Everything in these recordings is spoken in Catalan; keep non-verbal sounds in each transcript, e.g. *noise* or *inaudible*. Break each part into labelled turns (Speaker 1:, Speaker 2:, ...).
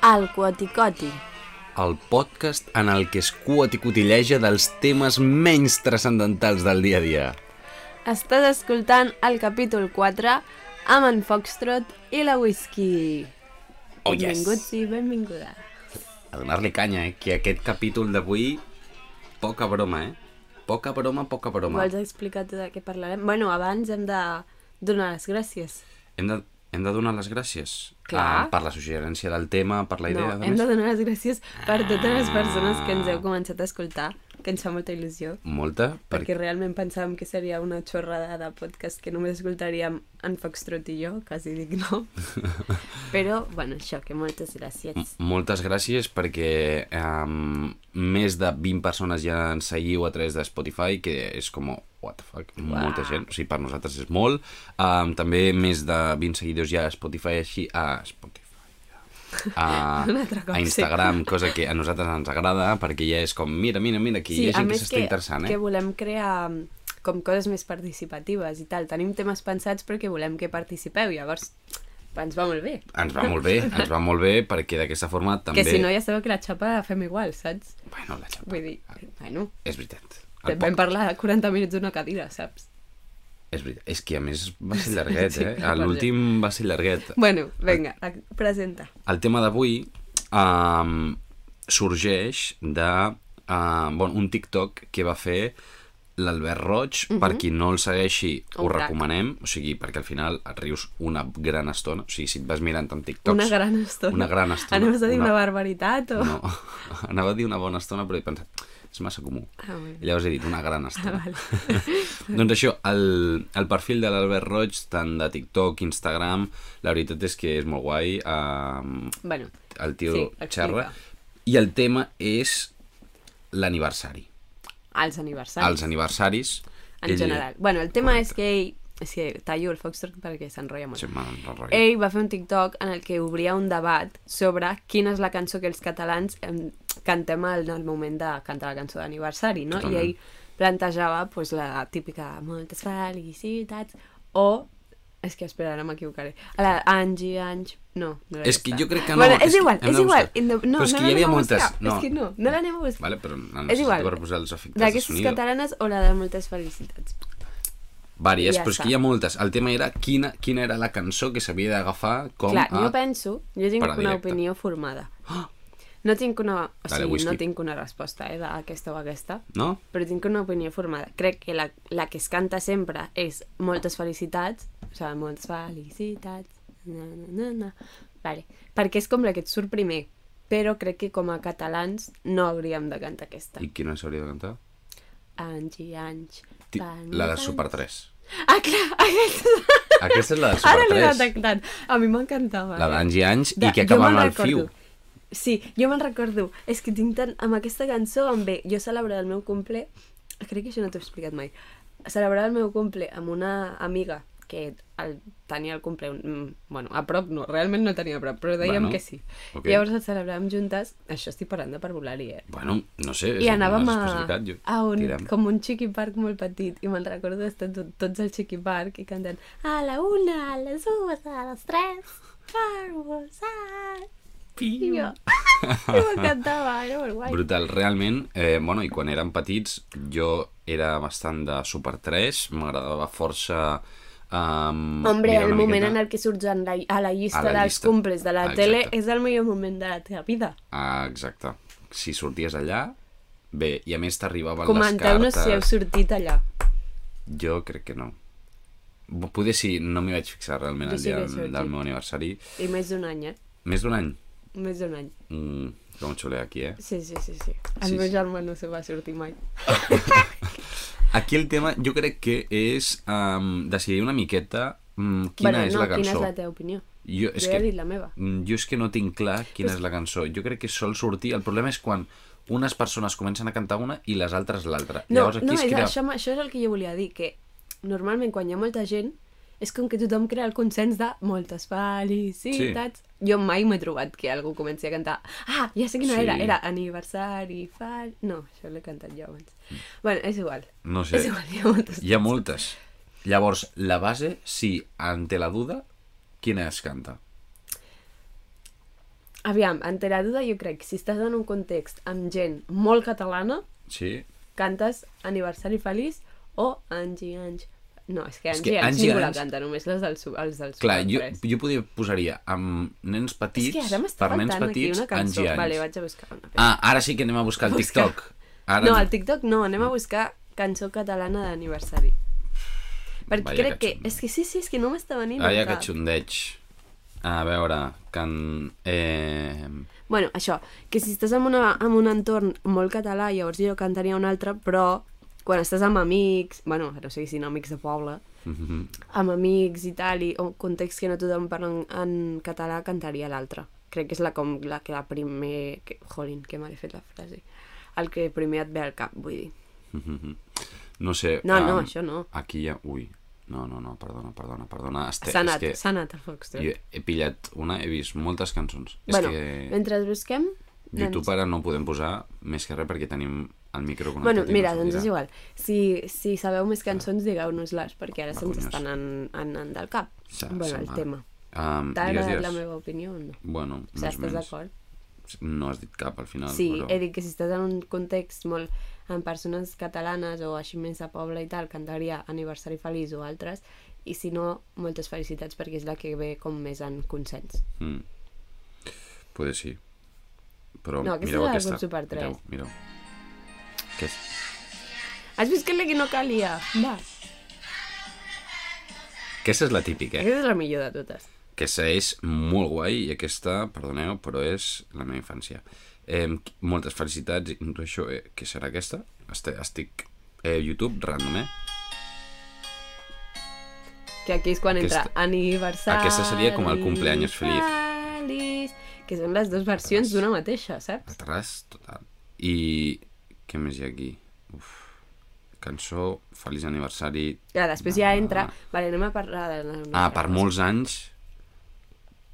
Speaker 1: al Quoticoti.
Speaker 2: El podcast en el que es cuaticotileja dels temes menys transcendentals del dia a dia.
Speaker 1: Estàs escoltant el capítol 4 amb en Foxtrot i la Whisky.
Speaker 2: Oh, yes.
Speaker 1: Benvinguts i benvinguda.
Speaker 2: A donar-li canya, eh? Que aquest capítol d'avui... Poca broma, eh? Poca broma, poca broma.
Speaker 1: Vols explicar tu de què parlarem? Bueno, abans hem de donar les gràcies.
Speaker 2: Hem de, hem de donar les gràcies
Speaker 1: Clar.
Speaker 2: Ah, per la suggerència del tema, per la idea...
Speaker 1: no,
Speaker 2: de
Speaker 1: hem
Speaker 2: més. Ah.
Speaker 1: de donar les gràcies per totes les persones que ens heu començat a escoltar, que ens fa molta il·lusió.
Speaker 2: Molta,
Speaker 1: Perquè
Speaker 2: perquè...
Speaker 1: realment pensàvem que seria una xorrada de podcast que només escoltaríem en Foxtrot i jo, quasi dic
Speaker 2: *laughs*
Speaker 1: no. Però, bueno, això, que moltes gràcies.
Speaker 2: Moltes gràcies perquè um, més de 20 persones ja ens seguiu a través de Spotify, que és com, what the fuck, molta gent, o sigui, per nosaltres és molt. Um, també més de 20 seguidors ja a Spotify, així, a Spotify,
Speaker 1: *laughs*
Speaker 2: a,
Speaker 1: Un altre cop,
Speaker 2: a Instagram, cosa que a nosaltres ens agrada, perquè ja és com, mira, mira, mira, aquí hi ha
Speaker 1: a
Speaker 2: gent que
Speaker 1: més
Speaker 2: s'està interessant, eh?
Speaker 1: que volem crear mm, com coses més participatives i tal. Tenim temes pensats però que volem que participeu, llavors ens va molt bé.
Speaker 2: Ens va molt bé, ens va molt bé, perquè d'aquesta forma també...
Speaker 1: Que si no ja sabeu que la xapa la fem igual, saps?
Speaker 2: Bueno, la xapa,
Speaker 1: Vull dir, bueno,
Speaker 2: és veritat. El
Speaker 1: vam parlar 40 minuts d'una cadira, saps?
Speaker 2: És veritat. És que a més va ser llarguet,
Speaker 1: Sí,
Speaker 2: eh?
Speaker 1: clar,
Speaker 2: L'últim va ser llarguet.
Speaker 1: Bueno, vinga,
Speaker 2: Ah.
Speaker 1: ac- presenta.
Speaker 2: El tema d'avui um, sorgeix de uh, bon, un TikTok que va fer l'Albert Roig,
Speaker 1: Mhm.
Speaker 2: per qui no el segueixi ho
Speaker 1: Un crac.
Speaker 2: recomanem, o sigui, perquè al final et rius una gran estona, o sigui, si et vas mirant amb TikToks...
Speaker 1: Una gran estona.
Speaker 2: Doncs Una gran estona.
Speaker 1: Anaves a dir una, barbaritat o...
Speaker 2: No, *laughs* anava a dir una bona estona, però he pensat, és massa comú.
Speaker 1: Ah, molt bé.
Speaker 2: I Llavors he dit una
Speaker 1: *laughs*
Speaker 2: gran estona.
Speaker 1: Ah,
Speaker 2: *laughs* doncs això, el, el perfil de l'Albert Roig, tant de TikTok, Instagram, la veritat és que és molt guai. Um,
Speaker 1: Bueno,
Speaker 2: el tio
Speaker 1: Sí,
Speaker 2: sí,
Speaker 1: explica.
Speaker 2: xerra. I el tema és l'aniversari.
Speaker 1: als aniversaris.
Speaker 2: Els aniversaris.
Speaker 1: En general. Bueno, el tema és que ell... És que tallo el Foxtrot perquè s'enrotlla molt.
Speaker 2: Sí, mal, mal
Speaker 1: Ell
Speaker 2: Ei.
Speaker 1: va fer un TikTok en el que obria un debat sobre quina és la cançó que els catalans em, cantem al- en el moment de cantar la cançó d'aniversari, no?
Speaker 2: Totalment.
Speaker 1: I ell plantejava pues, la típica moltes felicitats o és que espera, ara m'equivocaré. A la anys i anys... No, no era
Speaker 2: És que
Speaker 1: aquesta.
Speaker 2: jo crec que no,
Speaker 1: Bueno,
Speaker 2: és
Speaker 1: és,
Speaker 2: que
Speaker 1: igual,
Speaker 2: hem
Speaker 1: és
Speaker 2: de
Speaker 1: igual.
Speaker 2: buscar.
Speaker 1: In the- No,
Speaker 2: Però és
Speaker 1: no
Speaker 2: que hi havia
Speaker 1: l'anem a
Speaker 2: moltes,
Speaker 1: buscar.
Speaker 2: no.
Speaker 1: És que no, no l'anem a buscar.
Speaker 2: Vale, però no
Speaker 1: és
Speaker 2: necessito
Speaker 1: igual.
Speaker 2: per posar els efectes de
Speaker 1: D'aquestes
Speaker 2: sonido.
Speaker 1: catalanes o la de moltes felicitats.
Speaker 2: Vàries,
Speaker 1: Ja
Speaker 2: però és
Speaker 1: està.
Speaker 2: que hi ha moltes. El tema era quina, quina era la cançó que s'havia d'agafar com
Speaker 1: Clar,
Speaker 2: a...
Speaker 1: jo penso, jo tinc
Speaker 2: per a
Speaker 1: una
Speaker 2: directe.
Speaker 1: opinió formada. Oh! No tinc una, o
Speaker 2: Dale,
Speaker 1: sigui,
Speaker 2: whisky.
Speaker 1: no tinc una resposta eh, d'aquesta o aquesta,
Speaker 2: No?
Speaker 1: però tinc una opinió formada. Crec que la, la que es canta sempre és moltes felicitats, o sigui, moltes felicitats, na, na, na, na. Vale. perquè és com la que et surt primer, però crec que com a catalans no hauríem de cantar aquesta.
Speaker 2: I quina s'hauria de cantar?
Speaker 1: Anys i anys.
Speaker 2: Ti-
Speaker 1: fan
Speaker 2: La de
Speaker 1: anys.
Speaker 2: Super 3.
Speaker 1: Ah, clar, aquesta...
Speaker 2: Aquesta és la de
Speaker 1: *laughs* Ara l'he
Speaker 2: Super 3.
Speaker 1: detectat. A mi m'encantava.
Speaker 2: La d'anys i anys i
Speaker 1: De-
Speaker 2: que
Speaker 1: jo
Speaker 2: acaba
Speaker 1: me'n
Speaker 2: amb el
Speaker 1: recordo.
Speaker 2: fiu.
Speaker 1: Sí, jo me'n recordo. És que tinc tant... Amb aquesta cançó em ve... Jo celebrava el meu cumple... Crec que això no t'ho he explicat mai. Celebrava el meu cumple amb una amiga que el, tenia el cumple... mm, Bueno, a prop no, realment no tenia a prop, però dèiem
Speaker 2: Bueno,
Speaker 1: que sí.
Speaker 2: ok.
Speaker 1: Llavors el celebràvem juntes... Això estic parlant de parvulari, eh?
Speaker 2: Bueno, no sé,
Speaker 1: I anàvem a,
Speaker 2: Jo.
Speaker 1: a un,
Speaker 2: Tira'm.
Speaker 1: com un xiqui parc molt petit i me'n recordo d'estar tot, tots al xiqui parc i cantant a la una, a les dues, a les tres, parvulari... I
Speaker 2: *laughs*
Speaker 1: jo, "Ah!" i m'encantava, era molt guai.
Speaker 2: Brutal, realment, eh, bueno, i quan érem petits jo era bastant de Super 3, m'agradava força... Um,
Speaker 1: Hombre, el moment en el que surts en la, a la llista
Speaker 2: A la
Speaker 1: dels
Speaker 2: llista.
Speaker 1: cumples de la
Speaker 2: Exacte.
Speaker 1: tele és el millor moment de la teva vida.
Speaker 2: Ah, exacte. Si sorties allà, bé, i a més t'arribaven les
Speaker 1: Comenteu-nos
Speaker 2: cartes...
Speaker 1: si heu sortit allà.
Speaker 2: Jo crec que no. Bo- Poder si no m'hi vaig fixar realment
Speaker 1: Jo
Speaker 2: el
Speaker 1: sí
Speaker 2: dia
Speaker 1: que he
Speaker 2: del,
Speaker 1: sortit.
Speaker 2: del meu aniversari.
Speaker 1: I més d'un any, eh?
Speaker 2: Més d'un any.
Speaker 1: Més d'un any.
Speaker 2: Mm, com xulé aquí, eh?
Speaker 1: Sí, sí, sí, sí. El
Speaker 2: Sí,
Speaker 1: meu
Speaker 2: sí.
Speaker 1: germà no se va sortir mai.
Speaker 2: *laughs* Aquí el tema jo crec que és um, decidir una miqueta um, quina
Speaker 1: Bueno,
Speaker 2: és
Speaker 1: no,
Speaker 2: la cançó.
Speaker 1: Quina és la teva opinió?
Speaker 2: Jo, és
Speaker 1: Jo
Speaker 2: que,
Speaker 1: he dit la meva.
Speaker 2: Mm, Jo és que no tinc clar quina és la cançó. Jo crec que sol sortir... El problema és quan unes persones comencen a cantar una i les altres l'altra.
Speaker 1: No,
Speaker 2: Llavors aquí
Speaker 1: no
Speaker 2: es
Speaker 1: és,
Speaker 2: crea...
Speaker 1: això, això és el que jo volia dir, que normalment quan hi ha molta gent és com que tothom crea el consens de moltes felicitats. Sí. Jo mai m'he trobat que algú comenci a cantar ah, ja sé quina
Speaker 2: Sí.
Speaker 1: no era, era aniversari, fal... No, això l'he cantat jo abans. Bueno, és igual.
Speaker 2: Mm. No
Speaker 1: Sí.
Speaker 2: sé,
Speaker 1: És igual, hi ha moltes.
Speaker 2: hi ha moltes. Llavors, la base, si en té la duda, quina es canta?
Speaker 1: Aviam, Enteràduda jo crec, si estàs en un context amb gent molt catalana,
Speaker 2: Sí?
Speaker 1: cantes Aniversari Feliç o Angie Ange. No, és que
Speaker 2: És
Speaker 1: Angie
Speaker 2: que
Speaker 1: Ange,
Speaker 2: Angie
Speaker 1: ningú la
Speaker 2: Ange-
Speaker 1: canta, només les del sub, els del sub.
Speaker 2: Clar, jo, jo podria posaria amb nens petits,
Speaker 1: és que ara m'està
Speaker 2: per nens
Speaker 1: faltant aquí
Speaker 2: petits,
Speaker 1: una cançó.
Speaker 2: anys i anys.
Speaker 1: Vale, vaig a buscar una.
Speaker 2: Ah, ara sí que anem a buscar el
Speaker 1: Busca.
Speaker 2: TikTok. Ara
Speaker 1: No, al TikTok no, anem a buscar cançó catalana d'aniversari. Perquè
Speaker 2: Vaya
Speaker 1: crec que...
Speaker 2: catxondeo.
Speaker 1: És que sí, sí, és que no m'està venint
Speaker 2: Ai,
Speaker 1: al
Speaker 2: que
Speaker 1: cap.
Speaker 2: xundeig. A veure, can... Eh... *laughs*
Speaker 1: Bueno, això, que si estàs en, una, en un entorn molt català, llavors jo cantaria un altre, però quan estàs amb amics, bueno, no sé si no amics de poble,
Speaker 2: mhm.
Speaker 1: amb amics i tal, i o context que no tothom parla en, en català, cantaria l'altre. Crec que és la, com, la que la primer... Que, jolín, que mal he fet la frase. El que primer et ve al cap, vull dir.
Speaker 2: No sé...
Speaker 1: No, no, això no.
Speaker 2: Aquí hi ha... Ui, no, no, no, perdona, perdona, perdona. Este,
Speaker 1: S'ha anat,
Speaker 2: és
Speaker 1: s'ha anat el
Speaker 2: que
Speaker 1: Foxtrot.
Speaker 2: jo he pillat una, he vist moltes cançons.
Speaker 1: Bueno,
Speaker 2: és
Speaker 1: que...
Speaker 2: que
Speaker 1: mentre busquem...
Speaker 2: YouTube ara no ho podem posar, més que res perquè tenim el micro connectat.
Speaker 1: Bueno,
Speaker 2: i no
Speaker 1: mira, doncs
Speaker 2: sortirà.
Speaker 1: és igual. Si, si sabeu més cançons, digueu-nos-les, perquè ara se'ns
Speaker 2: conyos.
Speaker 1: estan an, anant del cap.
Speaker 2: Se-
Speaker 1: bueno,
Speaker 2: se'n
Speaker 1: el
Speaker 2: va.
Speaker 1: tema.
Speaker 2: Um,
Speaker 1: T'ha
Speaker 2: digues,
Speaker 1: agradat la
Speaker 2: digues.
Speaker 1: meva opinió o no?
Speaker 2: Bueno,
Speaker 1: O sigui,
Speaker 2: més o
Speaker 1: estàs
Speaker 2: menys.
Speaker 1: d'acord?
Speaker 2: No has dit cap al final.
Speaker 1: Sí,
Speaker 2: però...
Speaker 1: he dit que si estàs en un context molt amb persones catalanes o així més de poble i tal, cantaria Aniversari Feliç o altres, i si no, moltes felicitats perquè és la que ve com més en consens.
Speaker 2: Mm. Poder sí. Però
Speaker 1: No, aquesta és
Speaker 2: mireu
Speaker 1: la del
Speaker 2: aquesta.
Speaker 1: Grup Super tres.
Speaker 2: mireu, mireu. Què és?
Speaker 1: Has vist que la que no calia? Va,
Speaker 2: Aquesta és la típica, eh?
Speaker 1: aquesta és la millor de totes.
Speaker 2: Aquesta és molt guai i aquesta, perdoneu, però és la meva infància. Eh, moltes felicitats. i no, Això, eh, què serà aquesta? Este, estic... Eh, YouTube, random, eh?
Speaker 1: Que aquí és quan entra
Speaker 2: Aquesta-
Speaker 1: aniversari.
Speaker 2: aquesta seria com el cumpleaños feliz.
Speaker 1: feliz. Que són les dues versions d'una mateixa, saps?
Speaker 2: Atrás, total. I què més hi ha aquí? Uf. Cançó, feliç aniversari...
Speaker 1: Clar, després ja entra... Vale, anem a parlar de... la nostra
Speaker 2: Ah, per
Speaker 1: relació.
Speaker 2: molts anys...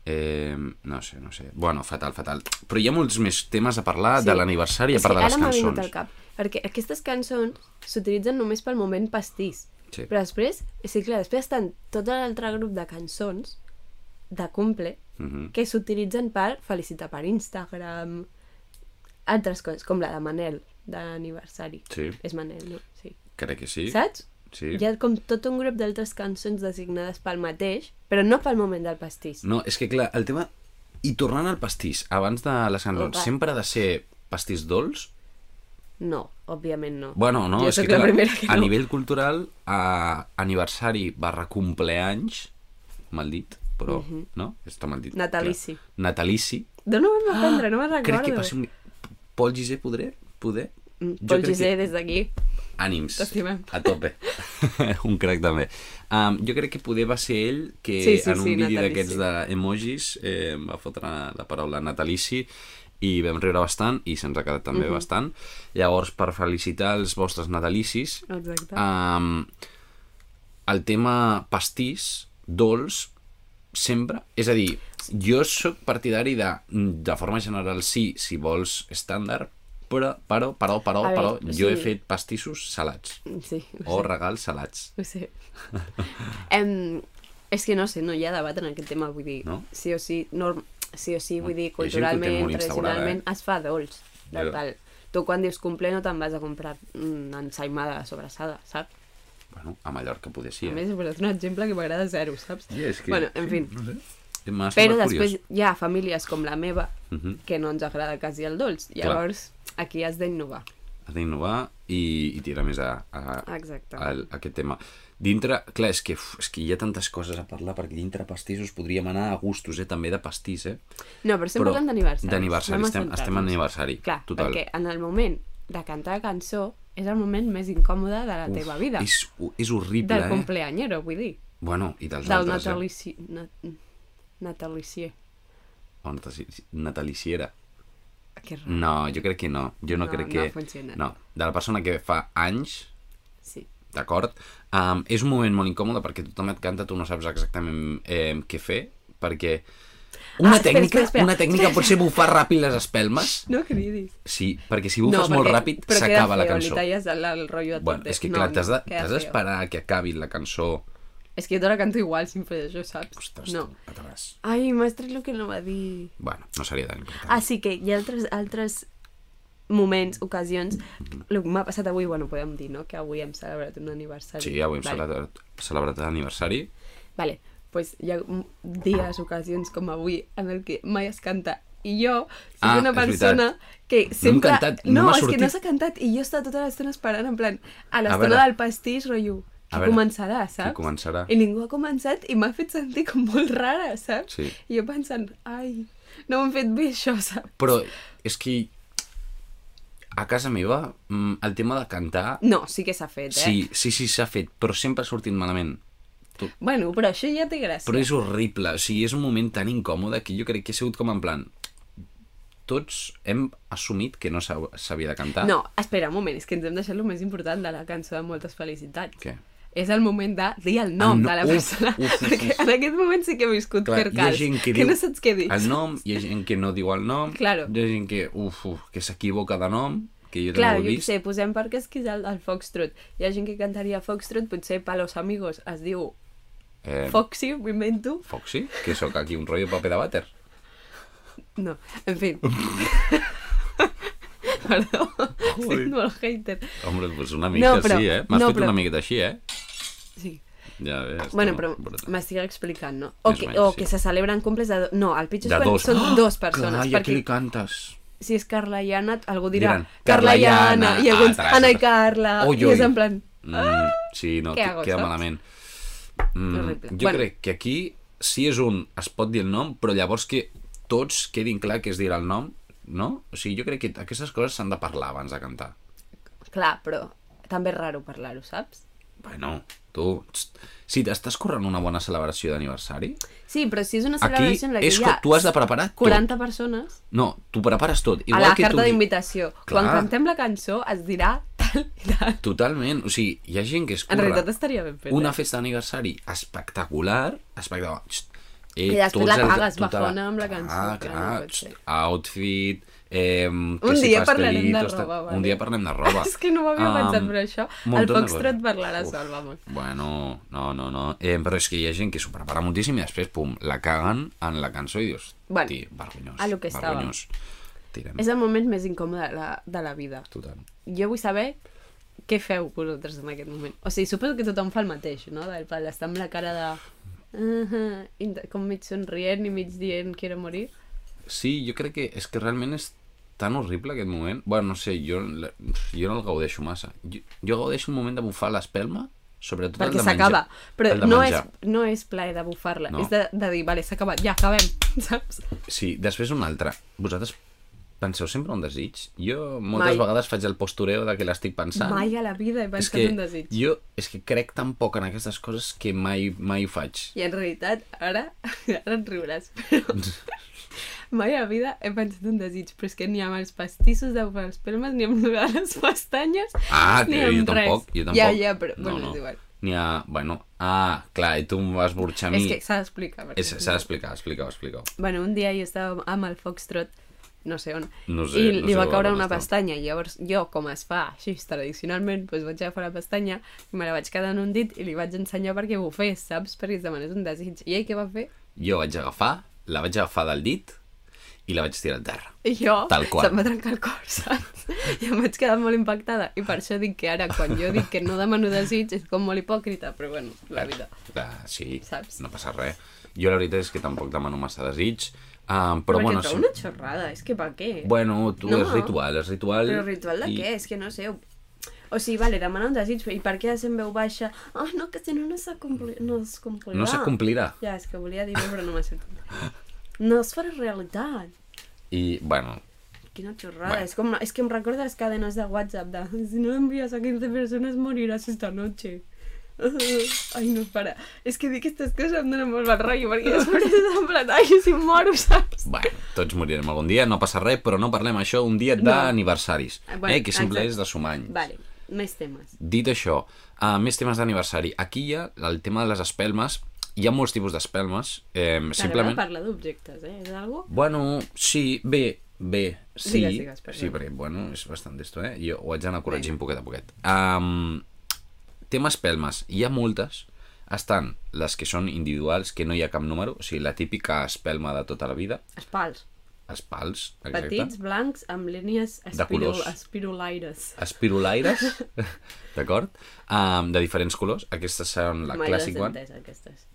Speaker 2: Eh, no sé, no sé. Bueno, fatal, fatal. Però hi ha molts més temes a parlar sí. de l'aniversari a
Speaker 1: És
Speaker 2: part
Speaker 1: que
Speaker 2: de les
Speaker 1: Ara m'ha vingut al
Speaker 2: cançons.
Speaker 1: cap, perquè aquestes cançons s'utilitzen només pel moment pastís.
Speaker 2: Sí.
Speaker 1: Però després, sí, clar, després estan tot l'altre grup de cançons de cumple
Speaker 2: Mhm.
Speaker 1: que s'utilitzen per felicitar per Instagram, altres coses, com la de Manel, d'aniversari.
Speaker 2: Sí.
Speaker 1: És Manel, no? Sí.
Speaker 2: Crec que sí.
Speaker 1: Saps?
Speaker 2: Sí.
Speaker 1: Hi ha com tot un grup d'altres cançons designades pel mateix, però no pel moment del pastís.
Speaker 2: No, és que clar, el tema... I tornant al pastís, abans de les cançons,
Speaker 1: Opa.
Speaker 2: sempre ha de ser pastís dolç?
Speaker 1: No, òbviament no.
Speaker 2: Bueno, no,
Speaker 1: jo
Speaker 2: és que,
Speaker 1: sóc la primera que
Speaker 2: a
Speaker 1: no.
Speaker 2: nivell cultural, a aniversari barra compleanys, mal dit, però, no? Està mal dit.
Speaker 1: Mhm.
Speaker 2: clar.
Speaker 1: Natalici.
Speaker 2: Natalici,
Speaker 1: D'on ho vam aprendre? No me'n recordo.
Speaker 2: Ah, Crec que va ser un... Pol Gisè podré? Poder?
Speaker 1: Mm,
Speaker 2: Jo
Speaker 1: Pol
Speaker 2: crec
Speaker 1: Gisè, des d'aquí.
Speaker 2: Que... Ànims.
Speaker 1: T'estimem.
Speaker 2: A tope. *laughs* un crac també. Um, jo crec que poder va ser ell que
Speaker 1: Sí, sí,
Speaker 2: en un
Speaker 1: sí,
Speaker 2: vídeo
Speaker 1: natalici.
Speaker 2: d'aquests d'emojis eh, em va fotre la paraula natalici i vam riure bastant i se'ns ha quedat també
Speaker 1: Mhm.
Speaker 2: bastant. Llavors, per felicitar els vostres natalicis,
Speaker 1: Exacte.
Speaker 2: um, el tema pastís, dolç, sempre. És a dir, jo sóc partidari de, de forma general, sí, si vols estàndard, però, però, però, però,
Speaker 1: A
Speaker 2: però
Speaker 1: veure,
Speaker 2: jo he
Speaker 1: sí.
Speaker 2: fet pastissos salats.
Speaker 1: Sí,
Speaker 2: O regals salats.
Speaker 1: *laughs* ho sé. em, és que no sé, no hi ha debat en aquest tema, vull dir,
Speaker 2: No?
Speaker 1: sí o sí, norm, sí o sí, vull dir,
Speaker 2: Hi ha gent que ho té
Speaker 1: culturalment,
Speaker 2: molt instaurada, eh?
Speaker 1: tradicionalment, es fa dolç, de
Speaker 2: Jo-
Speaker 1: tal. Tu quan dius cumple no te'n vas a comprar mm, ensaïmada sobrassada, saps?
Speaker 2: Bueno, a Mallorca poder sí,
Speaker 1: A
Speaker 2: eh?
Speaker 1: més, he posat un exemple que m'agrada zero, saps?
Speaker 2: I és que-
Speaker 1: Bueno, en fi.
Speaker 2: No sé. M'ha
Speaker 1: Però
Speaker 2: semblat
Speaker 1: després
Speaker 2: curiós.
Speaker 1: hi ha famílies com la meva
Speaker 2: Mhm.
Speaker 1: que no ens agrada quasi el dolç. Llavors, aquí has d'innovar.
Speaker 2: Has d'innovar i, i tirar més a, a,
Speaker 1: Exacte.
Speaker 2: el, aquest tema. Dintre, clar, és que, uf, és que hi ha tantes coses a parlar, perquè dintre pastissos podríem anar a gustos, eh, també de pastís, eh?
Speaker 1: No, però estem
Speaker 2: Però
Speaker 1: parlant d'aniversari.
Speaker 2: d'aniversari, estem, estem en aniversari.
Speaker 1: Clar,
Speaker 2: total.
Speaker 1: perquè en el moment de cantar cançó és el moment més incòmode de la teva vida.
Speaker 2: És, és horrible,
Speaker 1: del
Speaker 2: eh?
Speaker 1: compleanyero, vull dir.
Speaker 2: Bueno, i dels
Speaker 1: Del
Speaker 2: altres,
Speaker 1: natalici... Na... Natalicier.
Speaker 2: eh? O natalici- nataliciera.
Speaker 1: Que raro.
Speaker 2: No, jo crec que no. Jo no,
Speaker 1: No,
Speaker 2: crec
Speaker 1: no
Speaker 2: que...
Speaker 1: funciona.
Speaker 2: No, de la persona que fa anys,
Speaker 1: Sí.
Speaker 2: d'acord? Um, és un moment molt incòmode perquè tothom et canta, tu no saps exactament eh, què fer, perquè... Una
Speaker 1: Ah, espera,
Speaker 2: tècnica,
Speaker 1: espera, espera.
Speaker 2: una tècnica pot ser bufar ràpid les espelmes.
Speaker 1: No cridis.
Speaker 2: Sí, perquè si bufes molt ràpid
Speaker 1: però queda
Speaker 2: s'acaba la
Speaker 1: feo,
Speaker 2: cançó.
Speaker 1: Li talles el, el rotllo a
Speaker 2: Bueno,
Speaker 1: tot.
Speaker 2: és que
Speaker 1: No,
Speaker 2: clar,
Speaker 1: no,
Speaker 2: t'has de-
Speaker 1: queda
Speaker 2: t'has
Speaker 1: feo.
Speaker 2: d'esperar que acabi la cançó
Speaker 1: És que jo t'ara canto igual, sempre això, saps?
Speaker 2: Ostres,
Speaker 1: no.
Speaker 2: no. atràs.
Speaker 1: Ai, m'has tret el que no va dir.
Speaker 2: Bueno, no seria tan important.
Speaker 1: Ah, sí que hi ha altres, altres moments, ocasions. El que m'ha passat avui, bueno, podem dir, no? Que avui hem celebrat un aniversari.
Speaker 2: Sí, avui hem
Speaker 1: vale.
Speaker 2: celebrat, celebrat l'aniversari.
Speaker 1: Vale, pues hi ha m- dies, ocasions com avui en el que mai es canta i jo soc
Speaker 2: Ah,
Speaker 1: una
Speaker 2: és
Speaker 1: persona que sempre...
Speaker 2: cantat, no m'ha
Speaker 1: és que no
Speaker 2: sortit.
Speaker 1: s'ha cantat i jo estava tota l'estona esperant, en plan, a
Speaker 2: veure.
Speaker 1: l'estona del pastís, rotllo,
Speaker 2: A
Speaker 1: qui
Speaker 2: veure,
Speaker 1: començarà, saps?
Speaker 2: començarà?
Speaker 1: I ningú ha començat i m'ha fet sentir com molt rara, saps?
Speaker 2: Sí.
Speaker 1: I jo pensant, ai, no m'han fet bé això, saps?
Speaker 2: Però és que a casa meva mm, el tema de cantar...
Speaker 1: No, sí que s'ha fet, eh?
Speaker 2: Sí, sí, sí, s'ha fet, però sempre ha sortit malament. Tu,
Speaker 1: Bueno, però això ja té gràcia.
Speaker 2: però és horrible, o sigui, és un moment tan incòmode que jo crec que ha sigut com en plan... Tots hem assumit que no s'ha- s'havia de cantar.
Speaker 1: No, espera un moment, és que ens hem deixat el més important de la cançó de moltes felicitats.
Speaker 2: Què?
Speaker 1: És el moment de dir el nom
Speaker 2: El no-
Speaker 1: de la
Speaker 2: uf,
Speaker 1: persona,
Speaker 2: uf, uf,
Speaker 1: perquè
Speaker 2: uf.
Speaker 1: en aquest moment sí que he viscut
Speaker 2: Clar,
Speaker 1: per
Speaker 2: hi ha
Speaker 1: calç,
Speaker 2: gent que,
Speaker 1: que,
Speaker 2: diu
Speaker 1: no saps què dir.
Speaker 2: el nom, hi ha gent que no diu el nom,
Speaker 1: Claro.
Speaker 2: hi ha gent que, uf, uf, que s'equivoca de nom, que jo
Speaker 1: Clar,
Speaker 2: també ho
Speaker 1: jo
Speaker 2: he
Speaker 1: què
Speaker 2: vist.
Speaker 1: sé, posem perquè és que és el, el Foxtrot. Hi ha gent que cantaria Foxtrot, potser Palos Amigos es diu
Speaker 2: Eh,
Speaker 1: Foxy, m'ho invento.
Speaker 2: Foxy, que sóc aquí un rotllo paper de vàter.
Speaker 1: No, en
Speaker 2: *laughs*
Speaker 1: fi. Perdó,
Speaker 2: Joder.
Speaker 1: estic molt hater.
Speaker 2: Hombre, pues una mica
Speaker 1: No, però-
Speaker 2: així, eh? M'has
Speaker 1: no,
Speaker 2: fet
Speaker 1: però-
Speaker 2: una miqueta així, eh?
Speaker 1: Sí.
Speaker 2: Ja ves.
Speaker 1: Bueno,
Speaker 2: tu,
Speaker 1: però
Speaker 2: brutal.
Speaker 1: m'estic explicant, no? O
Speaker 2: Més o
Speaker 1: que,
Speaker 2: menys,
Speaker 1: o
Speaker 2: sí.
Speaker 1: que se celebren comples de... Do... No, el pitjor
Speaker 2: De
Speaker 1: és quan
Speaker 2: dos.
Speaker 1: són
Speaker 2: *gasps* Oh,
Speaker 1: dos persones.
Speaker 2: Clar, i a qui
Speaker 1: perquè
Speaker 2: li cantes?
Speaker 1: si és Carla i Anna, algú dirà
Speaker 2: Diran,
Speaker 1: Carla i
Speaker 2: "Carla i
Speaker 1: Anna,
Speaker 2: Anna".
Speaker 1: i alguns
Speaker 2: Ah, t'agrada.
Speaker 1: Anna i Carla,
Speaker 2: Oi,
Speaker 1: i
Speaker 2: oi.
Speaker 1: és en plan...
Speaker 2: Mm, sí, no,
Speaker 1: Què
Speaker 2: que-
Speaker 1: hago,
Speaker 2: queda
Speaker 1: saps?
Speaker 2: malament. Mm,
Speaker 1: Horrible.
Speaker 2: jo
Speaker 1: Bueno.
Speaker 2: crec que aquí sí és un... Es pot dir el nom, però llavors que tots quedin clar que es dirà el nom, no? O sigui, jo crec que aquestes coses s'han de parlar abans de cantar.
Speaker 1: Clar, però també és raro parlar-ho, saps?
Speaker 2: Bueno, tu... txt, Si t'estàs corrent una bona celebració d'aniversari,
Speaker 1: Sí, però si és una
Speaker 2: aquí
Speaker 1: celebració en la que
Speaker 2: és
Speaker 1: hi
Speaker 2: que
Speaker 1: ha
Speaker 2: tu has de preparar tot.
Speaker 1: 40 persones
Speaker 2: No, tu prepares tot.
Speaker 1: a la
Speaker 2: que tu
Speaker 1: carta
Speaker 2: di-
Speaker 1: d'invitació. Quan
Speaker 2: Clar.
Speaker 1: cantem la cançó es dirà tal i tal.
Speaker 2: Totalment, o sigui, hi ha gent que es
Speaker 1: En
Speaker 2: curra
Speaker 1: realitat estaria ben fet.
Speaker 2: una
Speaker 1: eh?
Speaker 2: festa d'aniversari espectacular, espectacular. Xt, Eh,
Speaker 1: I després
Speaker 2: tots
Speaker 1: la
Speaker 2: els-
Speaker 1: pagues
Speaker 2: tota
Speaker 1: bajona amb la cançó,
Speaker 2: Clar,
Speaker 1: clar,
Speaker 2: clar,
Speaker 1: no pot
Speaker 2: xt,
Speaker 1: ser.
Speaker 2: outfit, eh, un
Speaker 1: dia parlarem de roba,
Speaker 2: Un
Speaker 1: vale.
Speaker 2: dia parlem de roba.
Speaker 1: *laughs* És que no ho havia pensat, però això, el
Speaker 2: muntó Ah, de
Speaker 1: Foxtrot
Speaker 2: coses.
Speaker 1: parlarà
Speaker 2: Uf,
Speaker 1: sol, vamos.
Speaker 2: Bueno, no, no, no. Eh, però és que hi ha gent que s'ho prepara moltíssim i després, pum, la caguen en la cançó i dius,
Speaker 1: Bueno,
Speaker 2: "Ti, vergonyós,
Speaker 1: a lo que estava.
Speaker 2: vergonyós. Tirem.
Speaker 1: És el moment més incòmode de la, de la vida.
Speaker 2: Total.
Speaker 1: jo vull saber què feu vosaltres en aquest moment. O sigui, suposo que tothom fa el mateix, no? Del pal, estar amb la cara de... Uh -huh, com mig somrient i mig dient quiero morir.
Speaker 2: Sí, jo crec que és que realment és tan horrible aquest moment. Bueno, no sé, jo, la- jo no el gaudeixo massa. Jo, jo gaudeixo un moment de bufar l'espelma, sobretot el
Speaker 1: Perquè
Speaker 2: de menjar.
Speaker 1: s'acaba. Però
Speaker 2: el de
Speaker 1: no és,
Speaker 2: menjar.
Speaker 1: no és plaer de bufar-la.
Speaker 2: No.
Speaker 1: No. És de, de dir, vale, s'ha acabat, ja acabem, *laughs* saps?
Speaker 2: Sí, després un altre. Vosaltres penseu sempre un desig? Jo moltes
Speaker 1: Mai.
Speaker 2: vegades faig el postureo de que l'estic pensant.
Speaker 1: Mai a la vida he
Speaker 2: és
Speaker 1: pensat
Speaker 2: que
Speaker 1: un desig.
Speaker 2: jo és que crec tan poc en aquestes coses que mai, mai ho faig.
Speaker 1: I en realitat, ara, *laughs* ara en riuràs,
Speaker 2: *laughs*
Speaker 1: però... Mai a la vida he pensat un desig, però és que ni amb els pastissos de bufar les pelmes, ni amb lo de les pestanyes,
Speaker 2: Ah,
Speaker 1: ni
Speaker 2: que jo
Speaker 1: amb
Speaker 2: tampoc,
Speaker 1: res.
Speaker 2: jo tampoc.
Speaker 1: Ja, ja, però, bueno, és igual.
Speaker 2: Ni a... Bueno, ah, clar, i tu em vas burxar a mi.
Speaker 1: És que s'ha d'explicar. perquè
Speaker 2: És-
Speaker 1: si
Speaker 2: S'ha
Speaker 1: no-
Speaker 2: d'explicar, explica-ho, explica-ho.
Speaker 1: Bueno, un dia jo estava amb el Foxtrot, no sé on,
Speaker 2: No sé,
Speaker 1: i
Speaker 2: no
Speaker 1: li
Speaker 2: sé
Speaker 1: va
Speaker 2: on
Speaker 1: caure
Speaker 2: estava.
Speaker 1: una pestanya. I llavors jo, com es fa així tradicionalment, doncs vaig agafar la pestanya, me la vaig quedar en un dit i li vaig ensenyar perquè bufés, saps? Perquè es demanés un desig. I ell què va fer?
Speaker 2: Jo vaig agafar, la vaig agafar del dit i la vaig tirar al terra.
Speaker 1: I jo
Speaker 2: Tal qual.
Speaker 1: se'm va trencar el cor, *laughs* saps? I em vaig quedar molt impactada. I per això dic que ara, quan jo dic que no demano desig, és com molt hipòcrita, però bueno, la vida.
Speaker 2: Ah, sí,
Speaker 1: Saps?
Speaker 2: no passa res. Jo la veritat és que tampoc demano massa desig, um, però
Speaker 1: perquè
Speaker 2: bueno...
Speaker 1: trobo una xorrada, és que per què?
Speaker 2: Bueno, tu
Speaker 1: No.
Speaker 2: és ritual, és ritual...
Speaker 1: Però ritual de
Speaker 2: i-
Speaker 1: què? És que no sé... ho- O sigui, vale, demana un desig, i per què en veu baixa? Ah, oh, no, que si no, no s'ha compli... no es complirà.
Speaker 2: No se complirà.
Speaker 1: Ja, és que volia dir-ho, però no m'ha sortit. No es farà realitat.
Speaker 2: I, bueno,
Speaker 1: Quina xorrada.
Speaker 2: Bueno.
Speaker 1: És, com, és que em recorda les cadenes de WhatsApp de si no envies a 15 persones moriràs esta noche. *laughs* Ai, no, para. És que dir aquestes coses em dóna molt mal rotllo, *laughs* perquè després és en plan, ai, si em moro, saps?
Speaker 2: bueno, tots morirem algun dia, no passa res, però no parlem això un dia d'aniversaris,
Speaker 1: Ah,
Speaker 2: bueno,
Speaker 1: bueno,
Speaker 2: eh, que sempre
Speaker 1: exacte.
Speaker 2: és de sumar anys.
Speaker 1: Vale, més temes.
Speaker 2: Dit això, uh, més temes d'aniversari. Aquí hi ha el tema de les espelmes, hi ha molts tipus d'espelmes, eh,
Speaker 1: Simplement...
Speaker 2: simplement...
Speaker 1: Parla d'objectes, eh? És algo?
Speaker 2: Bueno, sí, bé, bé, sí.
Speaker 1: Digues, digues, perdó.
Speaker 2: sí, perquè, bueno, és bastant d'esto, eh? Jo ho haig d'anar corregint poquet a poquet. Um, temes pelmes. Hi ha moltes. Estan les que són individuals, que no hi ha cap número, o sigui, la típica espelma de tota la vida,
Speaker 1: Espals.
Speaker 2: els pals, exacte.
Speaker 1: Petits, blancs, amb línies
Speaker 2: De colors.
Speaker 1: espirul, espirulaires. *laughs*
Speaker 2: espirulaires, d'acord? Um, de diferents colors. Aquestes seran la
Speaker 1: Mai les
Speaker 2: Classic
Speaker 1: he
Speaker 2: One.
Speaker 1: entès, aquestes.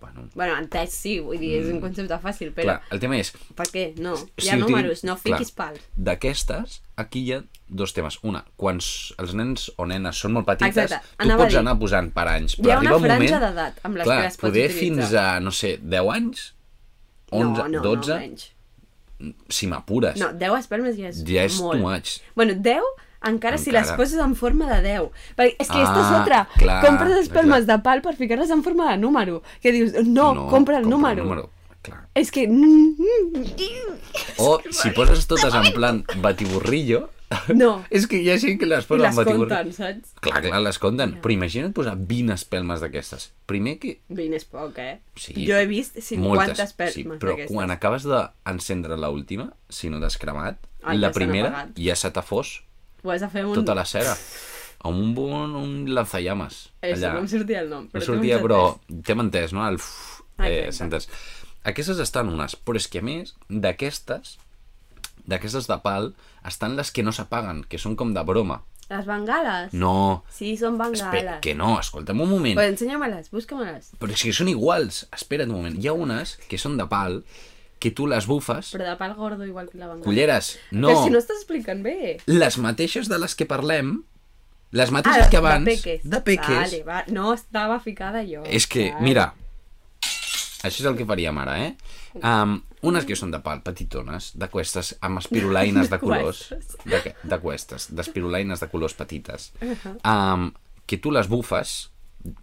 Speaker 2: Bueno,
Speaker 1: Bueno, entès sí, vull dir, és un concepte fàcil, però
Speaker 2: Mm. clar, el tema és,
Speaker 1: per què? No, hi ha
Speaker 2: utilitz-
Speaker 1: números, no
Speaker 2: clar,
Speaker 1: fiquis pals.
Speaker 2: D'aquestes, aquí hi ha dos temes. Una, quan s- els nens o nenes són molt petites,
Speaker 1: Exacte,
Speaker 2: tu
Speaker 1: anava a
Speaker 2: pots
Speaker 1: dir.
Speaker 2: anar posant per anys,
Speaker 1: Hi
Speaker 2: però
Speaker 1: ha una
Speaker 2: arriba un moment...
Speaker 1: franja d'edat amb les
Speaker 2: clar,
Speaker 1: que les pots
Speaker 2: poder
Speaker 1: utilitzar.
Speaker 2: fins a, no sé, 10 anys? 11,
Speaker 1: no, no,
Speaker 2: 12,
Speaker 1: No, menys.
Speaker 2: si m'apures.
Speaker 1: no, 10 espermes ja és,
Speaker 2: ja és
Speaker 1: molt.
Speaker 2: too much.
Speaker 1: Bueno, 10 encara, si les
Speaker 2: eh? Encara.
Speaker 1: poses en forma de 10. Perquè és que esta és
Speaker 2: Ah,
Speaker 1: otra.
Speaker 2: clar,
Speaker 1: compres espermes
Speaker 2: clar.
Speaker 1: de pal per ficar-les en forma de número. Que dius, no,
Speaker 2: No,
Speaker 1: compra el número. *laughs*
Speaker 2: Clar.
Speaker 1: És que... mm, No,
Speaker 2: O si poses totes en plan batiburrillo, *laughs* és que hi ha gent que les
Speaker 1: i
Speaker 2: posa en
Speaker 1: les
Speaker 2: batiburrillo.
Speaker 1: compten, saps?
Speaker 2: Clar, clar, les compten. Però imagina't posar 20 espelmes d'aquestes. Primer que...
Speaker 1: 20 és poc, eh?
Speaker 2: Sí,
Speaker 1: jo he vist 50
Speaker 2: moltes,
Speaker 1: espermes
Speaker 2: sí, però
Speaker 1: d'aquestes.
Speaker 2: quan acabes d'encendre l'última, si no t'has cremat,
Speaker 1: Ai, ja
Speaker 2: la
Speaker 1: s'han
Speaker 2: primera
Speaker 1: apagat.
Speaker 2: ja se t'ha fos
Speaker 1: Ho has de fer amb un...
Speaker 2: tota la cera. Amb un bon un lanzallames.
Speaker 1: Això, no em sortia el nom.
Speaker 2: No
Speaker 1: Però tu
Speaker 2: sortia,
Speaker 1: em
Speaker 2: però
Speaker 1: saps.
Speaker 2: t'hem entès, no? El f...
Speaker 1: Ah,
Speaker 2: eh,
Speaker 1: exacte.
Speaker 2: s'entès. Aquestes estan unes, però és que a més, d'aquestes, d'aquestes de pal, estan les que no s'apaguen, que són com de broma.
Speaker 1: Les bengales?
Speaker 2: No,
Speaker 1: Sí, són
Speaker 2: espera,
Speaker 1: bengales.
Speaker 2: que no, escolta'm un moment.
Speaker 1: Pues ensenya-me-les, busca-me-les.
Speaker 2: Però és que són iguals, espera't un moment. Hi ha unes que són de pal, que tu les bufes...
Speaker 1: Però de pal gordo igual que la bengala.
Speaker 2: Culleres, no.
Speaker 1: Però si no estàs explicant bé.
Speaker 2: Les mateixes de les que parlem, les mateixes que
Speaker 1: Ah,
Speaker 2: abans...
Speaker 1: de peques.
Speaker 2: De peques.
Speaker 1: Vale, va. No estava ficada jo.
Speaker 2: És que,
Speaker 1: Vale.
Speaker 2: mira, això és el que faríem ara, eh? Um, unes que són de pal, petitones, de cuestes, amb
Speaker 1: *laughs*
Speaker 2: espirulaines de colors. De, que- de cuestes, d'espirulaines de colors petites.
Speaker 1: Uh-huh.
Speaker 2: Um, que tu les bufes,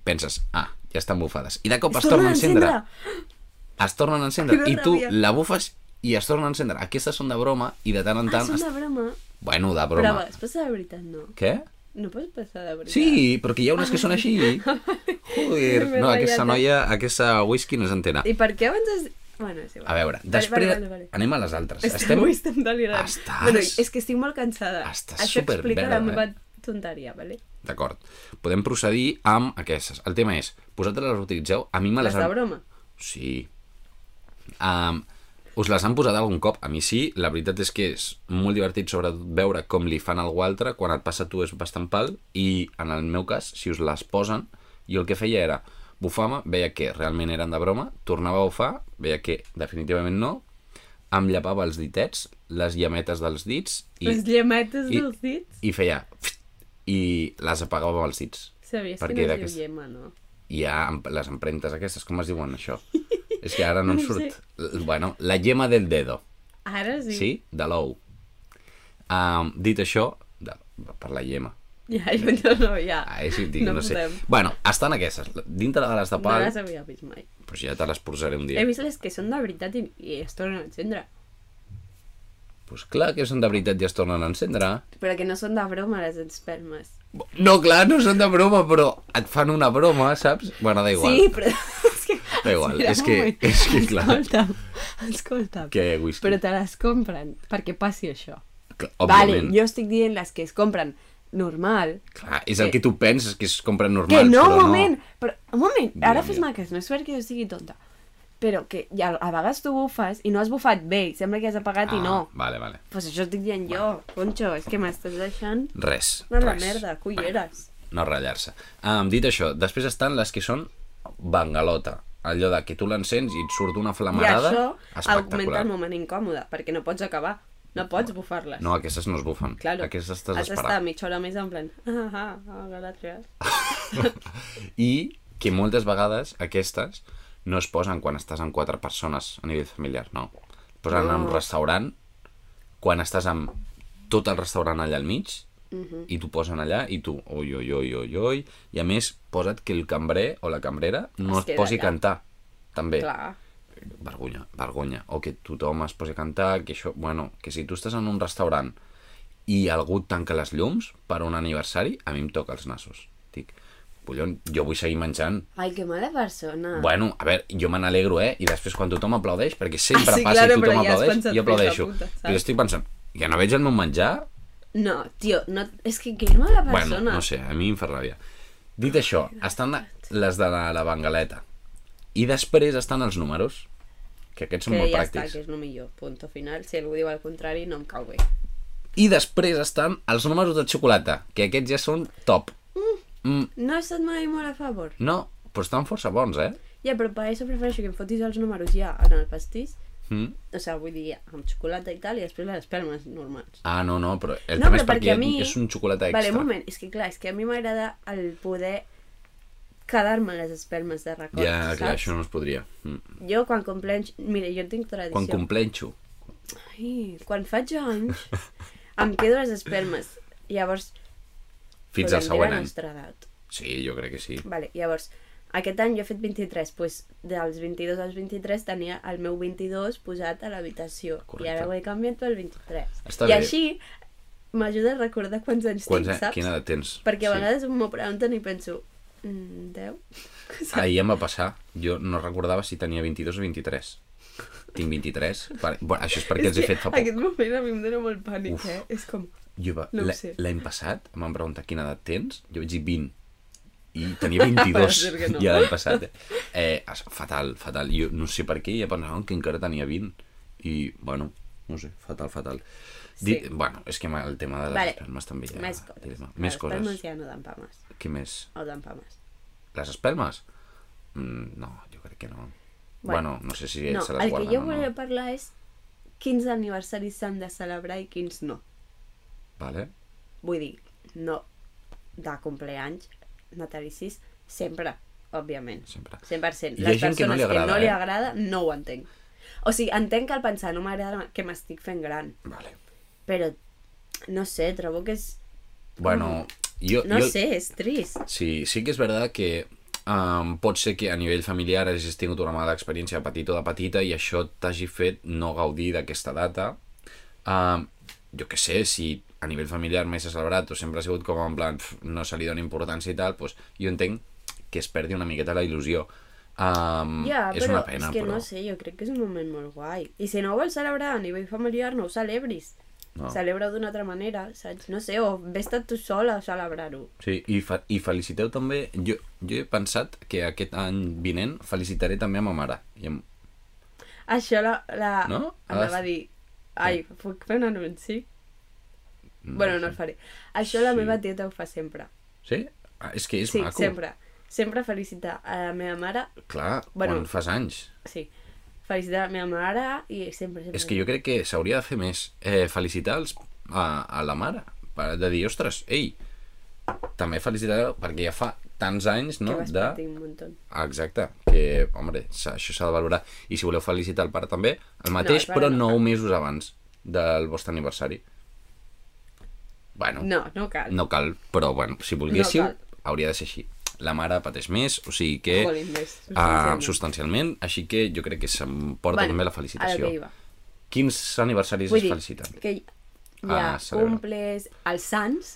Speaker 2: penses, ah, ja estan bufades. I de cop es, tornen a encendre. Es tornen a encendre.
Speaker 1: Quina
Speaker 2: I tu
Speaker 1: ràbia.
Speaker 2: la bufes i es tornen a encendre. Aquestes són de broma i de tant en
Speaker 1: Ah,
Speaker 2: tant...
Speaker 1: és
Speaker 2: es-
Speaker 1: una broma.
Speaker 2: Bueno, de
Speaker 1: Però
Speaker 2: broma.
Speaker 1: es passa de veritat, no.
Speaker 2: Què?
Speaker 1: No pots passar de veritat.
Speaker 2: Sí, perquè hi ha unes que són
Speaker 1: *laughs*
Speaker 2: així. Joder.
Speaker 1: M'he
Speaker 2: No,
Speaker 1: ratllat.
Speaker 2: aquesta
Speaker 1: eh.
Speaker 2: noia, aquesta whisky no s'entena.
Speaker 1: I per què abans es... Bueno, és igual.
Speaker 2: A veure, després
Speaker 1: Vale, vale, vale.
Speaker 2: anem a les altres.
Speaker 1: Estem...
Speaker 2: Estem...
Speaker 1: Avui estem delirant.
Speaker 2: Estàs-
Speaker 1: Bueno, és que estic molt cansada.
Speaker 2: Estàs
Speaker 1: Això explica la
Speaker 2: superverda, eh?
Speaker 1: meva tonteria, vale?
Speaker 2: D'acord. Podem procedir amb aquestes. El tema és, vosaltres les utilitzeu? A mi me
Speaker 1: Les
Speaker 2: les,
Speaker 1: de
Speaker 2: han...
Speaker 1: broma.
Speaker 2: Sí. Um, us les han posat algun cop? A mi sí. La veritat és que és molt divertit, sobretot, veure com li fan a algú altre. Quan et passa a tu és bastant pal. I, en el meu cas, si us les posen, jo el que feia era bufar-me, veia que realment eren de broma, tornava a bufar, veia que definitivament no, em llepava els ditets, les llametes dels dits i
Speaker 1: Les llemetes
Speaker 2: i-
Speaker 1: dels dits.
Speaker 2: i feia pfft, i les apagava amb els dits.
Speaker 1: Sabies
Speaker 2: Per
Speaker 1: que
Speaker 2: què
Speaker 1: no es
Speaker 2: era
Speaker 1: diu
Speaker 2: aquesta?
Speaker 1: llema, no?
Speaker 2: Hi ha em- les empremtes aquestes, com es diuen
Speaker 1: *laughs*
Speaker 2: això? És que ara no em
Speaker 1: No
Speaker 2: surt.
Speaker 1: sé.
Speaker 2: L- Bueno, la yema del dedo,
Speaker 1: Ara sí.
Speaker 2: sí? De l'ou. Um, dit això, de, per la yema.
Speaker 1: *laughs* Ja, jo no, no, ja.
Speaker 2: Ah, és que dic, no,
Speaker 1: no
Speaker 2: sé.
Speaker 1: podem.
Speaker 2: Bueno, estan aquestes. Dintre de les de
Speaker 1: No
Speaker 2: pal,
Speaker 1: les havia vist mai.
Speaker 2: però si ja te les posaré un dia.
Speaker 1: He vist les que són de veritat i, i es tornen a encendre.
Speaker 2: Pues clar que són de veritat i es tornen a encendre.
Speaker 1: Però que no són de broma les espermes.
Speaker 2: No, clar, no són de broma, però et fan una broma, saps? Bueno, da igual.
Speaker 1: Sí, *laughs* però... És que...
Speaker 2: Da igual,
Speaker 1: Espera
Speaker 2: és
Speaker 1: un
Speaker 2: que-
Speaker 1: moment.
Speaker 2: és
Speaker 1: *laughs*
Speaker 2: que, clar.
Speaker 1: Escolta'm, escolta'm.
Speaker 2: Què, whisky?
Speaker 1: Però te les compren perquè passi això.
Speaker 2: Clar,
Speaker 1: Vale,
Speaker 2: òbviament.
Speaker 1: jo estic dient les que es compren normal.
Speaker 2: Clar, és el que tu penses que es compra normal,
Speaker 1: que no,
Speaker 2: però
Speaker 1: un moment!
Speaker 2: no.
Speaker 1: Però, un moment, ara
Speaker 2: Digue'm,
Speaker 1: fes-me
Speaker 2: digue'm.
Speaker 1: cas, no és perquè jo estigui tonta. Però que ja, a vegades tu bufes i no has bufat bé, i sembla que has apagat i no.
Speaker 2: Ah, Vale, vale.
Speaker 1: Pues això estic dient jo, Concho, és que m'estàs deixant
Speaker 2: Res.
Speaker 1: una la
Speaker 2: res.
Speaker 1: merda, culleres.
Speaker 2: No ratllar-se. Um, dit això, després estan les que són bangalota. Allò de que tu l'encens i et surt una
Speaker 1: I
Speaker 2: flamarada
Speaker 1: això augmenta
Speaker 2: espectacular.
Speaker 1: el moment incòmode, perquè no pots acabar, no pots bufar-les.
Speaker 2: No, aquestes no es bufen.
Speaker 1: Claro.
Speaker 2: Aquestes t'has
Speaker 1: Has d'estar
Speaker 2: d'esperar.
Speaker 1: mitja hora més en plan... Ah, ah, ah, gràcies.
Speaker 2: I que moltes vegades aquestes no es posen quan estàs amb quatre persones a nivell familiar, no. Es posen en un restaurant quan estàs amb tot el restaurant allà al mig
Speaker 1: Mhm.
Speaker 2: i t'ho posen allà i tu oi, oi, oi, oi, oi i a més posa't que el cambrer o la cambrera no
Speaker 1: Es
Speaker 2: es,
Speaker 1: queda
Speaker 2: posi a
Speaker 1: allà.
Speaker 2: cantar també,
Speaker 1: Clar.
Speaker 2: vergonya, vergonya o que tothom es posi a cantar que això, bueno, que si tu estàs en un restaurant i algú et tanca les llums per un aniversari, a mi em toca els nassos dic, collons, jo vull seguir menjant
Speaker 1: Ai, que mala persona.
Speaker 2: Bueno, a veure, jo me n'alegro, eh? I després quan tothom aplaudeix, perquè sempre
Speaker 1: Ah, sí,
Speaker 2: passa
Speaker 1: claro,
Speaker 2: i tothom
Speaker 1: però ja has
Speaker 2: aplaudeix,
Speaker 1: pensat,
Speaker 2: jo aplaudeixo.
Speaker 1: "Fes la puta",
Speaker 2: I
Speaker 1: saps?
Speaker 2: estic pensant, ja no veig el meu menjar?
Speaker 1: No, tio, no, és que que mala persona.
Speaker 2: Bueno, no sé, a mi em fa ràbia. Dit això, estan les de la, la bengaleta. I després estan els números, que aquests són
Speaker 1: Que
Speaker 2: molt
Speaker 1: ja està,
Speaker 2: pràctics.
Speaker 1: que és el millor. Punto final. Si algú diu el contrari, no em cau bé.
Speaker 2: I després estan els números de xocolata, que aquests ja són top. Mm,
Speaker 1: No he estat mai molt a favor.
Speaker 2: no, però estan força bons, eh?
Speaker 1: Ja, però per això prefereixo que em fotis els números ja en el pastís.
Speaker 2: Mm.
Speaker 1: O sigui, vull dir, amb xocolata i tal, i després les espelmes normals.
Speaker 2: Ah, no, no, però el
Speaker 1: no,
Speaker 2: tema
Speaker 1: però
Speaker 2: és
Speaker 1: perquè
Speaker 2: perquè
Speaker 1: a mi...
Speaker 2: és un xocolata extra.
Speaker 1: Vale, un moment, és que clar, és que a mi m'agrada el poder quedar-me les espelmes de record,
Speaker 2: Ja,
Speaker 1: oh, saps?
Speaker 2: clar, això no es podria. Mm.
Speaker 1: Jo quan compleix... Mira, jo tinc tradició.
Speaker 2: Quan compleixo.
Speaker 1: Ai, quan faig anys, em quedo les espelmes. Llavors,
Speaker 2: Fins
Speaker 1: podem
Speaker 2: al següent
Speaker 1: dir la
Speaker 2: any.
Speaker 1: nostra edat.
Speaker 2: Sí, jo crec que sí.
Speaker 1: Vale, llavors, aquest any jo he fet 23, doncs dels 22 als 23 tenia el meu 22 posat a l'habitació. I
Speaker 2: Correcte.
Speaker 1: ara ho he canviat pel 23.
Speaker 2: Està
Speaker 1: I
Speaker 2: bé.
Speaker 1: així m'ajuda a recordar quants anys
Speaker 2: Quants,
Speaker 1: tinc,
Speaker 2: eh?
Speaker 1: saps?
Speaker 2: Quina edat tens?
Speaker 1: Perquè a
Speaker 2: Sí.
Speaker 1: vegades m'ho pregunten i penso, mm, 10?
Speaker 2: Ahir em va passar. Jo no recordava si tenia 22 o 23. Tinc 23. Per... Bueno, això és perquè els he
Speaker 1: que
Speaker 2: fet fa poc.
Speaker 1: Aquest moment a mi em dóna molt pànic,
Speaker 2: Uf.
Speaker 1: eh? És com...
Speaker 2: Jo va...
Speaker 1: no ho
Speaker 2: l'e-
Speaker 1: sé.
Speaker 2: L'any passat em van preguntar quina edat tens, jo vaig dir 20. I
Speaker 1: *laughs*
Speaker 2: tenia 22
Speaker 1: ser que no.
Speaker 2: ja l'any passat. Eh? Eh, es- fatal, fatal. Jo no sé per què, ja pensaven que encara tenia 20. I, bueno, no sé, fatal, fatal. Di...
Speaker 1: Sí.
Speaker 2: Bueno, és que el tema de
Speaker 1: Vale.
Speaker 2: les vale. espelmes també... Ja...
Speaker 1: Més coses.
Speaker 2: dilema.
Speaker 1: Les
Speaker 2: Més
Speaker 1: palmes
Speaker 2: coses.
Speaker 1: ja no dan pa més.
Speaker 2: Què més?
Speaker 1: O dan pa més.
Speaker 2: Les espelmes? Mm, no, jo crec que no. Bueno, no sé si
Speaker 1: no,
Speaker 2: se les
Speaker 1: el que
Speaker 2: guarden
Speaker 1: jo
Speaker 2: o
Speaker 1: volia
Speaker 2: no.
Speaker 1: parlar és quins aniversaris s'han de celebrar i quins no.
Speaker 2: Vale.
Speaker 1: Vull dir, no de compleanys, natalicis, sempre, òbviament.
Speaker 2: Sempre.
Speaker 1: 100%.
Speaker 2: Hi ha
Speaker 1: Les
Speaker 2: gent
Speaker 1: persones
Speaker 2: que no li
Speaker 1: que
Speaker 2: agrada,
Speaker 1: no li
Speaker 2: eh?
Speaker 1: agrada no ho entenc. O sigui, entenc que al pensar no m'agrada que m'estic fent gran,
Speaker 2: Vale.
Speaker 1: però no sé, trobo que és...
Speaker 2: Bueno, jo...
Speaker 1: No
Speaker 2: jo...
Speaker 1: sé, és trist.
Speaker 2: Sí, sí que és verdad que um, pot ser que a nivell familiar hagis tingut una mala experiència de petit o de petita i això t'hagi fet no gaudir d'aquesta data. Um, jo que sé, si a nivell familiar mai s'ha celebrat o sempre ha sigut com en plan pf, no se li dona importància i tal, doncs jo entenc que es perdi una miqueta la il·lusió. Um,
Speaker 1: Ja,
Speaker 2: és
Speaker 1: però
Speaker 2: una pena,
Speaker 1: és que
Speaker 2: però...
Speaker 1: no sé, jo crec que és un moment molt guai. I si no ho vols celebrar a nivell familiar, no ho celebris.
Speaker 2: No.
Speaker 1: Celebra-ho d'una altra manera, saps? No sé, o vés-te tu sola a celebrar-ho.
Speaker 2: Sí, i, fa i feliciteu també... Jo, jo he pensat que aquest any vinent felicitaré també a ma mare. I em...
Speaker 1: Això la... la
Speaker 2: No?
Speaker 1: Em
Speaker 2: Has-
Speaker 1: va dir... Ai, puc fer un anunci? bueno, no el faré. Això la
Speaker 2: Sí.
Speaker 1: meva tieta ho fa sempre.
Speaker 2: Sí? Ah, és que és
Speaker 1: sí,
Speaker 2: maco.
Speaker 1: sempre. Sempre felicitar a la meva mare...
Speaker 2: Clar,
Speaker 1: Bueno.
Speaker 2: bueno. quan fas anys.
Speaker 1: Sí, felicitar a la meva mare i sempre, sempre.
Speaker 2: És que jo crec que s'hauria de fer més. Eh, felicitar els, a, a la mare. Per, de dir, ostres, ei, també felicitar perquè ja fa tants anys, no?
Speaker 1: Que vas
Speaker 2: de...
Speaker 1: patir un muntó.
Speaker 2: Ah, Exacte, que, hombre, s'ha- això s'ha de valorar. I si voleu felicitar el pare també, el mateix,
Speaker 1: pare
Speaker 2: però
Speaker 1: no.
Speaker 2: 9 mesos abans del vostre aniversari. Bueno,
Speaker 1: No, no cal.
Speaker 2: no cal, però bueno, si volguéssiu,
Speaker 1: No cal.
Speaker 2: hauria de ser així. La mare pateix més, o sigui que...
Speaker 1: Jolín, més,
Speaker 2: ah,
Speaker 1: substancialment.
Speaker 2: substancialment, així que jo crec que s'emporta
Speaker 1: Vale,
Speaker 2: també la
Speaker 1: A
Speaker 2: felicitació.
Speaker 1: la que iva.
Speaker 2: Quins aniversaris
Speaker 1: Vull
Speaker 2: es
Speaker 1: dir,
Speaker 2: feliciten?
Speaker 1: que hi ha
Speaker 2: Ah,
Speaker 1: ah,
Speaker 2: celebra. Mm.
Speaker 1: cumples, els sants,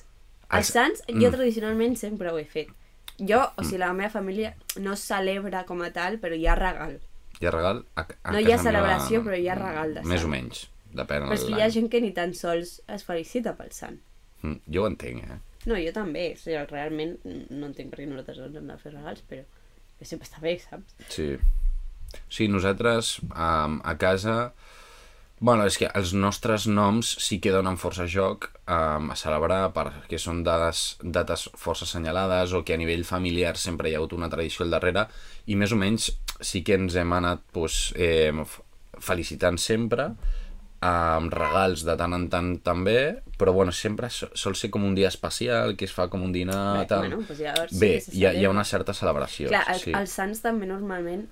Speaker 1: els
Speaker 2: Els-
Speaker 1: sants jo tradicionalment sempre ho he fet. Jo,
Speaker 2: Mm.
Speaker 1: o sigui, la meva família no celebra com a tal, però hi ha regal.
Speaker 2: Hi ha regal? A, a
Speaker 1: No hi ha
Speaker 2: casa
Speaker 1: celebració, però hi ha regal de
Speaker 2: Més
Speaker 1: sang.
Speaker 2: o menys, depèn
Speaker 1: Però és
Speaker 2: de
Speaker 1: que hi ha
Speaker 2: l'any.
Speaker 1: gent que ni tan sols es felicita pel sant.
Speaker 2: Mm, Jo ho entenc, eh?
Speaker 1: No, jo també, o sigui, realment no entenc per què nosaltres ens hem de fer regals, però que sempre està bé, saps?
Speaker 2: Sí. Sí, nosaltres um, a casa... Bueno, és que els nostres noms sí que donen força joc um, a celebrar perquè són dades, dates força assenyalades o que a nivell familiar sempre hi ha hagut una tradició al darrere i més o menys sí que ens hem anat pues, eh, f- felicitant sempre amb regals de tant en tant també, però bueno, sempre so- sol ser com un dia especial, que es fa com un dinar...
Speaker 1: Bé,
Speaker 2: tal.
Speaker 1: bueno, pues ja llavors sí
Speaker 2: Bé,
Speaker 1: que se
Speaker 2: hi ha, hi
Speaker 1: celebra.
Speaker 2: ha una certa celebració.
Speaker 1: Clar, el,
Speaker 2: sí.
Speaker 1: sí. els sants també normalment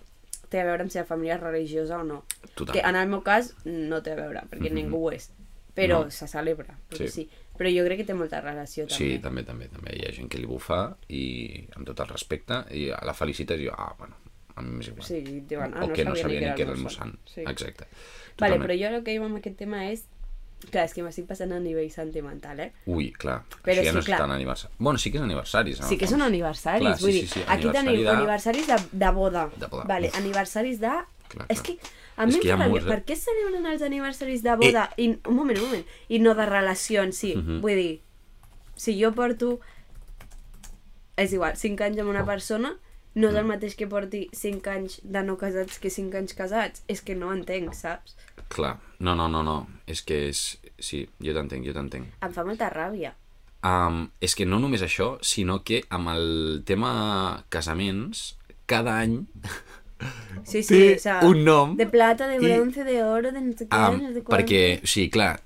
Speaker 1: té a veure amb si la família és religiosa o no.
Speaker 2: Total. Mhm.
Speaker 1: Que en el meu cas no té a veure, perquè mm -hmm. ningú ho és. Però no. se celebra, perquè
Speaker 2: Sí.
Speaker 1: sí. sí. Però jo crec que té molta relació també.
Speaker 2: Sí, també, també, també. Hi ha gent que li bufa i amb tot el respecte i a la felicita i diu, ah, bueno, a mi m'és igual.
Speaker 1: Sí, diuen, ah,
Speaker 2: o
Speaker 1: no
Speaker 2: que no
Speaker 1: sabia
Speaker 2: sabia ni que era el
Speaker 1: meu
Speaker 2: meu
Speaker 1: sant.
Speaker 2: sant.
Speaker 1: Sí.
Speaker 2: Exacte.
Speaker 1: Vale,
Speaker 2: Totalment.
Speaker 1: però jo el que dic amb aquest tema és... Clar, és que m'estic passant a nivell sentimental, eh?
Speaker 2: Ui, clar,
Speaker 1: Però
Speaker 2: això ja
Speaker 1: sí,
Speaker 2: no és
Speaker 1: clar.
Speaker 2: tan aniversari. Bueno, sí que és aniversari. en
Speaker 1: Sí
Speaker 2: el
Speaker 1: que
Speaker 2: fons.
Speaker 1: són aniversaris,
Speaker 2: Clar, sí,
Speaker 1: vull dir,
Speaker 2: sí, sí,
Speaker 1: aquí
Speaker 2: aniversari
Speaker 1: tenim
Speaker 2: de-
Speaker 1: aniversaris de, de boda.
Speaker 2: De boda.
Speaker 1: Vale,
Speaker 2: Uf.
Speaker 1: aniversaris de...
Speaker 2: clar.
Speaker 1: És que a
Speaker 2: És
Speaker 1: mi em
Speaker 2: que hi ha
Speaker 1: fa ràbia,
Speaker 2: molts, eh?
Speaker 1: per què es celebren els aniversaris de boda i, un moment, un moment, i no de relacions, sí,
Speaker 2: Mhm.
Speaker 1: vull dir,
Speaker 2: Oh.
Speaker 1: si jo porto, és igual, 5 anys amb una persona, No
Speaker 2: Mm.
Speaker 1: és el mateix que porti 5 anys de no casats que 5 anys casats. És que no entenc, saps?
Speaker 2: Clar. No, no, no, no. És que és... Sí, jo t'entenc, jo t'entenc.
Speaker 1: Em fa molta ràbia.
Speaker 2: Um, és que no només això, sinó que amb el tema casaments, cada any
Speaker 1: Sí, sí,
Speaker 2: té
Speaker 1: o sea,
Speaker 2: un nom
Speaker 1: De plata, de
Speaker 2: i-
Speaker 1: bronce, de oro, de no sé què,
Speaker 2: Um,
Speaker 1: no sé quant.
Speaker 2: perquè, sí, clar,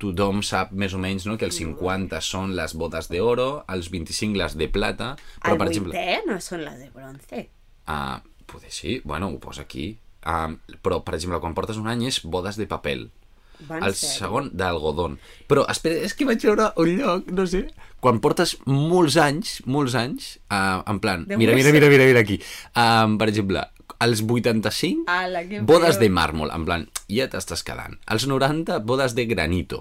Speaker 2: tothom sap més o menys no, que els 50 són les botes d'oro, els 25 les de plata, però,
Speaker 1: el
Speaker 2: per exemple...
Speaker 1: vuitè no són les de bronce.
Speaker 2: Uh, poder sí, bueno, ho posa aquí. Um, però, per exemple, quan portes un any és bodes de paper.
Speaker 1: Van
Speaker 2: el
Speaker 1: ser.
Speaker 2: segon d'algodon. Però, espera, és que vaig veure un lloc, no sé... Quan portes molts anys, molts anys, uh, en plan...
Speaker 1: De
Speaker 2: Mira, mira,
Speaker 1: gust.
Speaker 2: mira, mira, mira aquí. Um, per exemple, els 85,
Speaker 1: Ala, que
Speaker 2: bodes
Speaker 1: feo.
Speaker 2: de màrmol, en plan, ja t'estàs quedant. Els 90, bodes de granito.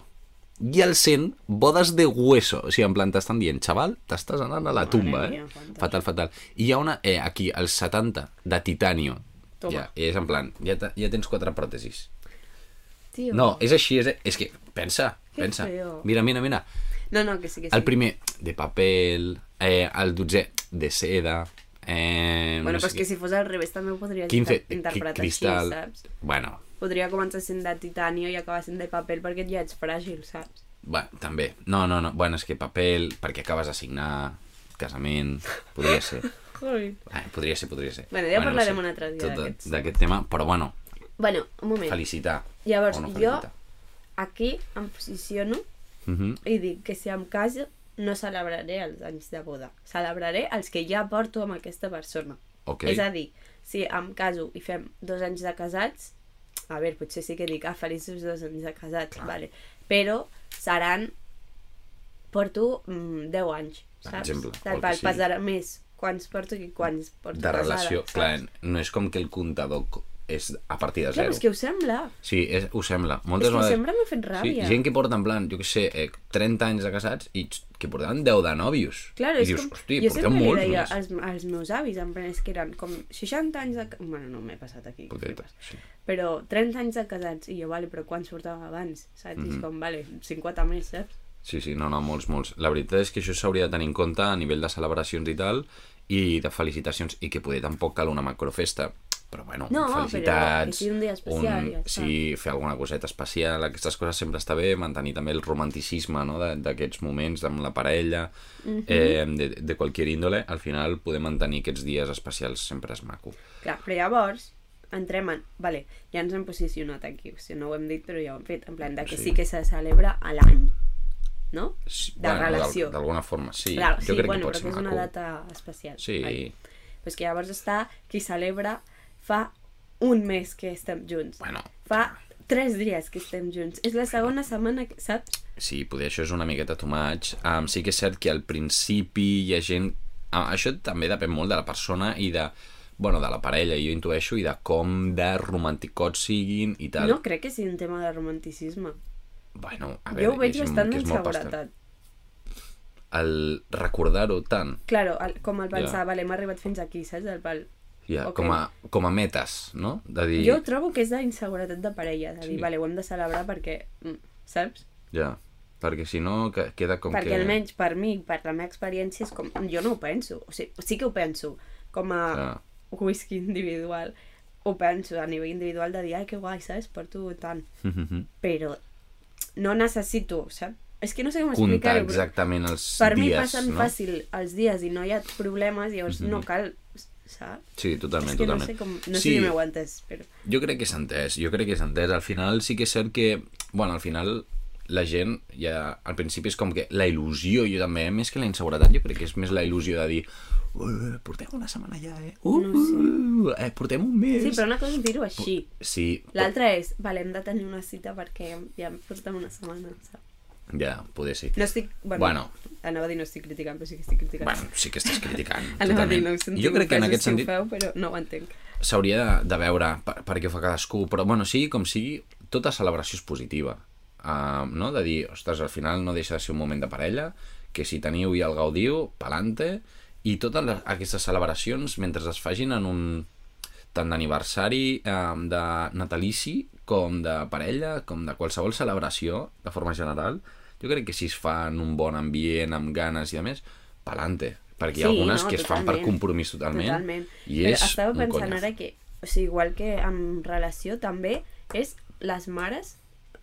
Speaker 2: I el 100, bodes de hueso. O sigui, en plan, t'estan dient, xaval, t'estàs anant a la tumba, eh?
Speaker 1: mía, quantos.
Speaker 2: Fatal, fatal. I hi ha una, eh, aquí, els 70, de titanio.
Speaker 1: Toma.
Speaker 2: Ja, és en plan, ja, te- ja tens quatre pròtesis.
Speaker 1: Tio.
Speaker 2: No, és així, és, és que pensa,
Speaker 1: Que
Speaker 2: pensa.
Speaker 1: feo.
Speaker 2: Mira, mira, mira.
Speaker 1: No, no, que sí, que sí.
Speaker 2: El primer de paper, eh, el dotzè de seda, eh,
Speaker 1: Bueno, però
Speaker 2: no sé
Speaker 1: és que
Speaker 2: què,
Speaker 1: si fos al revés també ho podria
Speaker 2: 15
Speaker 1: inter- interpretar així,
Speaker 2: cristal...
Speaker 1: saps?
Speaker 2: Bueno,
Speaker 1: Podria començar sent de titanio i acabar sent de paper perquè ja ets fràgil, saps?
Speaker 2: bueno, també. No, no, no. Bueno, és que paper, perquè acabes de signar, casament, podria
Speaker 1: *laughs*
Speaker 2: ser.
Speaker 1: Ui.
Speaker 2: Eh, podria ser, podria ser.
Speaker 1: Bueno, ja parlarem
Speaker 2: no
Speaker 1: un altre dia
Speaker 2: tot de-
Speaker 1: d'aquests.
Speaker 2: d'aquest tema, però bueno,
Speaker 1: Bueno, un moment.
Speaker 2: felicitar.
Speaker 1: Llavors,
Speaker 2: o no
Speaker 1: jo
Speaker 2: felicitar.
Speaker 1: aquí em posiciono
Speaker 2: Mhm.
Speaker 1: i dic que si em caso no celebraré els anys de boda. Celebraré els que ja porto amb aquesta persona.
Speaker 2: Ok.
Speaker 1: És a dir, si em caso i fem dos anys de casats, a veure, potser sí que dic, ah, feliços dos anys de casats, vale. però seran, porto mm, 10 anys,
Speaker 2: Per
Speaker 1: saps?
Speaker 2: exemple, o el
Speaker 1: Tal,
Speaker 2: que
Speaker 1: pas,
Speaker 2: sigui.
Speaker 1: passarà més quants porto que quants porto
Speaker 2: de relació,
Speaker 1: casada,
Speaker 2: clar,
Speaker 1: saps?
Speaker 2: no és com que el comptador co- és a partir
Speaker 1: Clar,
Speaker 2: de zero.
Speaker 1: però és que ho sembla.
Speaker 2: Sí, és, ho sembla.
Speaker 1: És
Speaker 2: Moltes
Speaker 1: que ho
Speaker 2: vegades...
Speaker 1: sembla m'ha fet ràbia.
Speaker 2: Sí, gent que porta en plan, jo què sé, eh, 30 anys de casats i xt, que portaven 10 de nòvios.
Speaker 1: Clar,
Speaker 2: I
Speaker 1: és
Speaker 2: dius,
Speaker 1: com...
Speaker 2: hosti,
Speaker 1: jo
Speaker 2: porteu
Speaker 1: sempre li
Speaker 2: molts
Speaker 1: deia
Speaker 2: més.
Speaker 1: als, als meus avis, en plan, és que eren com 60 anys de... ca- Bueno, no, m'he passat aquí.
Speaker 2: Poteta,
Speaker 1: flipes.
Speaker 2: sí.
Speaker 1: Però 30 anys de casats, i jo, vale, però quants portava abans? Saps?
Speaker 2: Mhm.
Speaker 1: I és com, vale, 50 més, saps?
Speaker 2: sí, sí, no, no, molts, molts. La veritat és que això s'hauria de tenir en compte a nivell de celebracions i tal, i de felicitacions, i que poder tampoc cal una macrofesta, però bueno,
Speaker 1: No, però que
Speaker 2: felicitats...
Speaker 1: sigui un dia especial, ja està.
Speaker 2: sí, fer alguna coseta especial, aquestes coses sempre està bé, mantenir també el romanticisme no? de- d'aquests moments amb la parella,
Speaker 1: Mhm.
Speaker 2: eh, de, de qualsevol índole, al final poder mantenir aquests dies especials sempre és maco.
Speaker 1: Clar, però llavors entrem en... Vale, ja ens hem posicionat aquí, o sigui, no ho hem dit, però ja ho hem fet, en plan, de que sí,
Speaker 2: Sí.
Speaker 1: que se celebra a l'any, no?
Speaker 2: Sí,
Speaker 1: De
Speaker 2: d'al-
Speaker 1: relació.
Speaker 2: D'alguna forma, sí.
Speaker 1: Clar,
Speaker 2: jo crec
Speaker 1: bueno,
Speaker 2: que
Speaker 1: però
Speaker 2: pot ser
Speaker 1: que és una
Speaker 2: maco.
Speaker 1: data especial.
Speaker 2: Sí.
Speaker 1: Vale. Però és que llavors està qui celebra fa un mes que estem junts.
Speaker 2: Bueno,
Speaker 1: Fa tres dies que estem junts. És la segona setmana, que, saps?
Speaker 2: Sí, poder això és una miqueta too much. Um, sí que és cert que al principi hi ha gent... ah, això també depèn molt de la persona i de... Bueno, de la parella, jo intueixo, i de com de romanticots siguin i tal.
Speaker 1: No crec que sigui un tema de romanticisme.
Speaker 2: Bueno, a veure,
Speaker 1: Jo ho veig
Speaker 2: és,
Speaker 1: bastant
Speaker 2: que és molt pastel.
Speaker 1: d'inseguretat.
Speaker 2: El recordar-ho tant,
Speaker 1: Claro, el, com el pensar,
Speaker 2: Ja.
Speaker 1: vale, hem arribat fins aquí, saps? El pal.
Speaker 2: ja,
Speaker 1: Ok.
Speaker 2: com, a, com a metes, no? De dir...
Speaker 1: Jo trobo que és d'inseguretat de parella, és a dir,
Speaker 2: Sí.
Speaker 1: vale, ho hem de celebrar perquè, mm, saps?
Speaker 2: Ja, perquè si no que, queda com
Speaker 1: perquè
Speaker 2: que...
Speaker 1: almenys per mi, per la meva experiència, és com... Jo no ho penso. O sigui, sí que ho penso. Com a
Speaker 2: Clar.
Speaker 1: whisky individual, ho penso a nivell individual de dir, ai, que guai, saps? Porto tant. Però no necessito, saps? És que no sé com
Speaker 2: Comptar
Speaker 1: explicar-ho. però
Speaker 2: exactament els
Speaker 1: Per
Speaker 2: dies,
Speaker 1: mi passen
Speaker 2: no?
Speaker 1: fàcil els dies i no hi ha problemes, llavors no cal, saps?
Speaker 2: Sí, totalment,
Speaker 1: és que no
Speaker 2: totalment.
Speaker 1: sé com... No sé
Speaker 2: sí,
Speaker 1: si m'heu entès, però...
Speaker 2: Jo crec que s'ha entès, jo crec que s'ha entès. Al final sí que és cert que, bueno, al final la gent ja, al principi és com que la il·lusió, jo també, més que la inseguretat, jo crec que és més la il·lusió de dir "Uh, portem una setmana ja, eh? Uh, uh, eh portem un mes.
Speaker 1: Sí, però una cosa és dir-ho així.
Speaker 2: Sí,
Speaker 1: L'altra és, vale, hem de tenir una cita perquè ja em portem una setmana, saps?
Speaker 2: ja, poder sí.
Speaker 1: No estic... Bueno,
Speaker 2: Bueno.
Speaker 1: bueno, anava a dir no estic criticant, però sí que estic criticant.
Speaker 2: Bueno, sí que estàs criticant.
Speaker 1: anava *laughs* a dir no
Speaker 2: totalment.
Speaker 1: us sentiu
Speaker 2: jo crec que en
Speaker 1: ofesos
Speaker 2: aquest
Speaker 1: si ho
Speaker 2: sentit
Speaker 1: Feu, però no ho entenc.
Speaker 2: s'hauria de, de veure per, per què ho fa cadascú, però bueno, sigui com sigui, tota celebració és positiva. Uh, no? De dir, ostres, al final no deixa de ser un moment de parella, que si teniu i el gaudiu, pelante, i totes les, aquestes celebracions, mentre es fagin en un tant d'aniversari, um, de natalici, com de parella, com de qualsevol celebració, de forma general, jo crec que si es fa en un bon ambient, amb ganes i a més, pelante, Perquè hi ha algunes que es fan per
Speaker 1: totalment.
Speaker 2: compromís totalment.
Speaker 1: Totalment.
Speaker 2: I
Speaker 1: Però
Speaker 2: és
Speaker 1: estava
Speaker 2: un
Speaker 1: pensant
Speaker 2: coñazo.
Speaker 1: ara que, o sigui, igual que en relació, també és les mares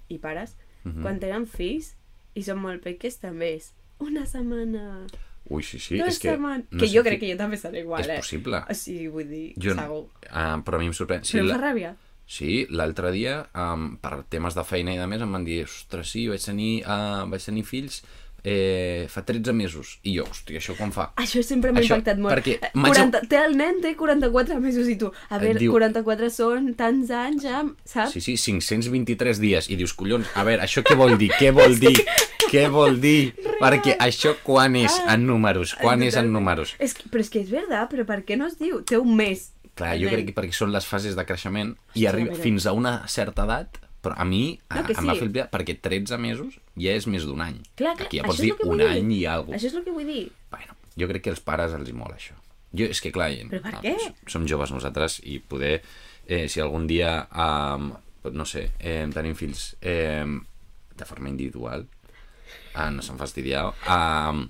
Speaker 1: i pares,
Speaker 2: Mhm.
Speaker 1: quan tenen fills i són molt peques, també és una setmana,
Speaker 2: Ui, sí, sí.
Speaker 1: dues
Speaker 2: és que,
Speaker 1: setmanes...
Speaker 2: no
Speaker 1: que
Speaker 2: sé
Speaker 1: jo
Speaker 2: qui-
Speaker 1: crec que jo també seré igual,
Speaker 2: és
Speaker 1: eh?
Speaker 2: possible.
Speaker 1: O sigui, vull dir,
Speaker 2: Jo, no-
Speaker 1: segur.
Speaker 2: ah, però a mi em sorprèn.
Speaker 1: Sí,
Speaker 2: Sí,
Speaker 1: Però em
Speaker 2: la,
Speaker 1: fa ràbia.
Speaker 2: Sí, l'altre dia, um, per temes de feina i de més, em van dir, ostres, sí, vaig tenir, uh, vaig tenir fills eh, fa 13 mesos. I jo, hòstia, això quan fa?
Speaker 1: Això sempre m'ha
Speaker 2: Això,
Speaker 1: impactat molt.
Speaker 2: perquè
Speaker 1: Eh,
Speaker 2: m'haig-
Speaker 1: 40, té el nen té 44 mesos i tu, a
Speaker 2: Et
Speaker 1: veure,
Speaker 2: diu-
Speaker 1: 44 són tants anys ja, saps?
Speaker 2: Sí, sí, 523 dies. I dius, collons, a veure, això què vol dir?
Speaker 1: *laughs*
Speaker 2: Què vol dir? Què vol dir? Perquè això quan és en números? Quan és en
Speaker 1: Totalment.
Speaker 2: números?
Speaker 1: És que, però és que és verdad, però per què no es diu? Té un mes.
Speaker 2: Clar,
Speaker 1: el
Speaker 2: jo
Speaker 1: nen.
Speaker 2: crec que perquè són les fases de creixement i
Speaker 1: Hòstia,
Speaker 2: arriba
Speaker 1: mira.
Speaker 2: fins a una certa edat, però a mi a,
Speaker 1: No, que
Speaker 2: em va
Speaker 1: sí.
Speaker 2: fer el pia, perquè 13 mesos ja és més d'un any.
Speaker 1: Clar, clar,
Speaker 2: Aquí ja
Speaker 1: això
Speaker 2: pots
Speaker 1: és
Speaker 2: dir
Speaker 1: el que
Speaker 2: un
Speaker 1: vull dir.
Speaker 2: any i alguna
Speaker 1: Això és el que vull dir.
Speaker 2: Bueno, jo crec que als pares els hi mola això. Jo, és que clar,
Speaker 1: Però per
Speaker 2: ah,
Speaker 1: què?
Speaker 2: som joves nosaltres i poder, eh, si algun dia, um, no sé, eh, tenim fills eh, de forma individual, eh, no se'n fastidiar, eh,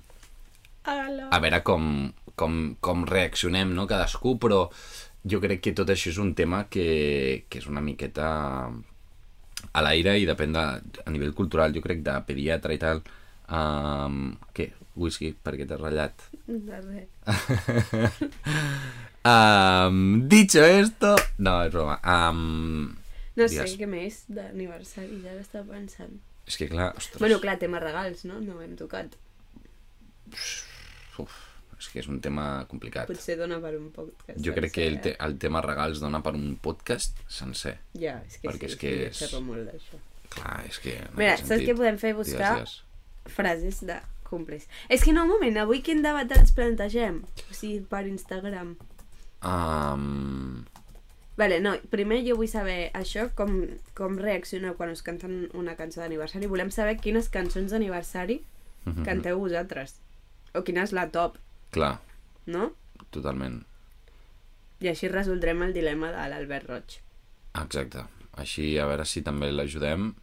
Speaker 2: a veure com, com, com reaccionem no, cadascú, però jo crec que tot això és un tema que, que és una miqueta a l'aire i depèn de, a nivell cultural, jo crec, de pediatra i tal. Um, què? Whisky, perquè t'has ratllat.
Speaker 1: De res.
Speaker 2: Um, dicho esto... No, és broma. Um,
Speaker 1: No sé
Speaker 2: digues. Doncs-
Speaker 1: què més d'aniversari, ja l'estava pensant.
Speaker 2: És que clar, ostres...
Speaker 1: Bueno, clar, tema regals, no? No ho hem tocat.
Speaker 2: Uf, és que és un tema complicat.
Speaker 1: Potser dona per un podcast.
Speaker 2: Jo crec que el,
Speaker 1: sencer,
Speaker 2: te el tema regals dona per un podcast sencer.
Speaker 1: eh? Ja, és que
Speaker 2: perquè
Speaker 1: sí,
Speaker 2: és que
Speaker 1: jo
Speaker 2: és-
Speaker 1: xerro molt d'això.
Speaker 2: Clar, és que... en
Speaker 1: Mira,
Speaker 2: aquest
Speaker 1: saps
Speaker 2: sentit-
Speaker 1: què podem fer?
Speaker 2: Digues,
Speaker 1: Buscar
Speaker 2: digues.
Speaker 1: frases de complis. És que no, un moment, avui quin debat ens plantegem? O sigui, per Instagram.
Speaker 2: Um,
Speaker 1: Vale, no, primer jo vull saber això, com, com reacciona quan us canten una cançó d'aniversari. Volem saber quines cançons d'aniversari canteu vosaltres. O quina és la top,
Speaker 2: Mhm. clar,
Speaker 1: no?
Speaker 2: totalment.
Speaker 1: I així resoldrem el dilema de l'Albert Roig.
Speaker 2: Exacte. Així, a veure si també l'ajudem.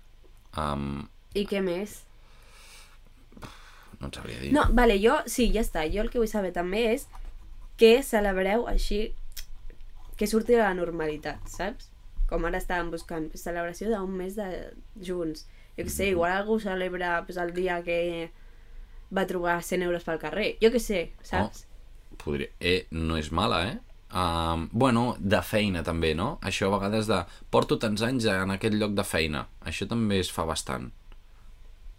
Speaker 2: Um,
Speaker 1: I què més?
Speaker 2: no et sabria dir.
Speaker 1: No, vale, jo, sí, ja està. Jo el que vull saber també és què celebreu així que surti de la normalitat, saps? Com ara estàvem buscant pues, celebració d'un mes de junts. Jo què sé, igual algú celebra pues, el dia que va trobar 100 euros pel carrer. Jo què sé,
Speaker 2: Oh.
Speaker 1: saps?
Speaker 2: Podria... Eh, no és mala, eh? Um, bueno, de feina també, no? Això a vegades de... Porto tants anys en aquest lloc de feina. Això també es fa bastant.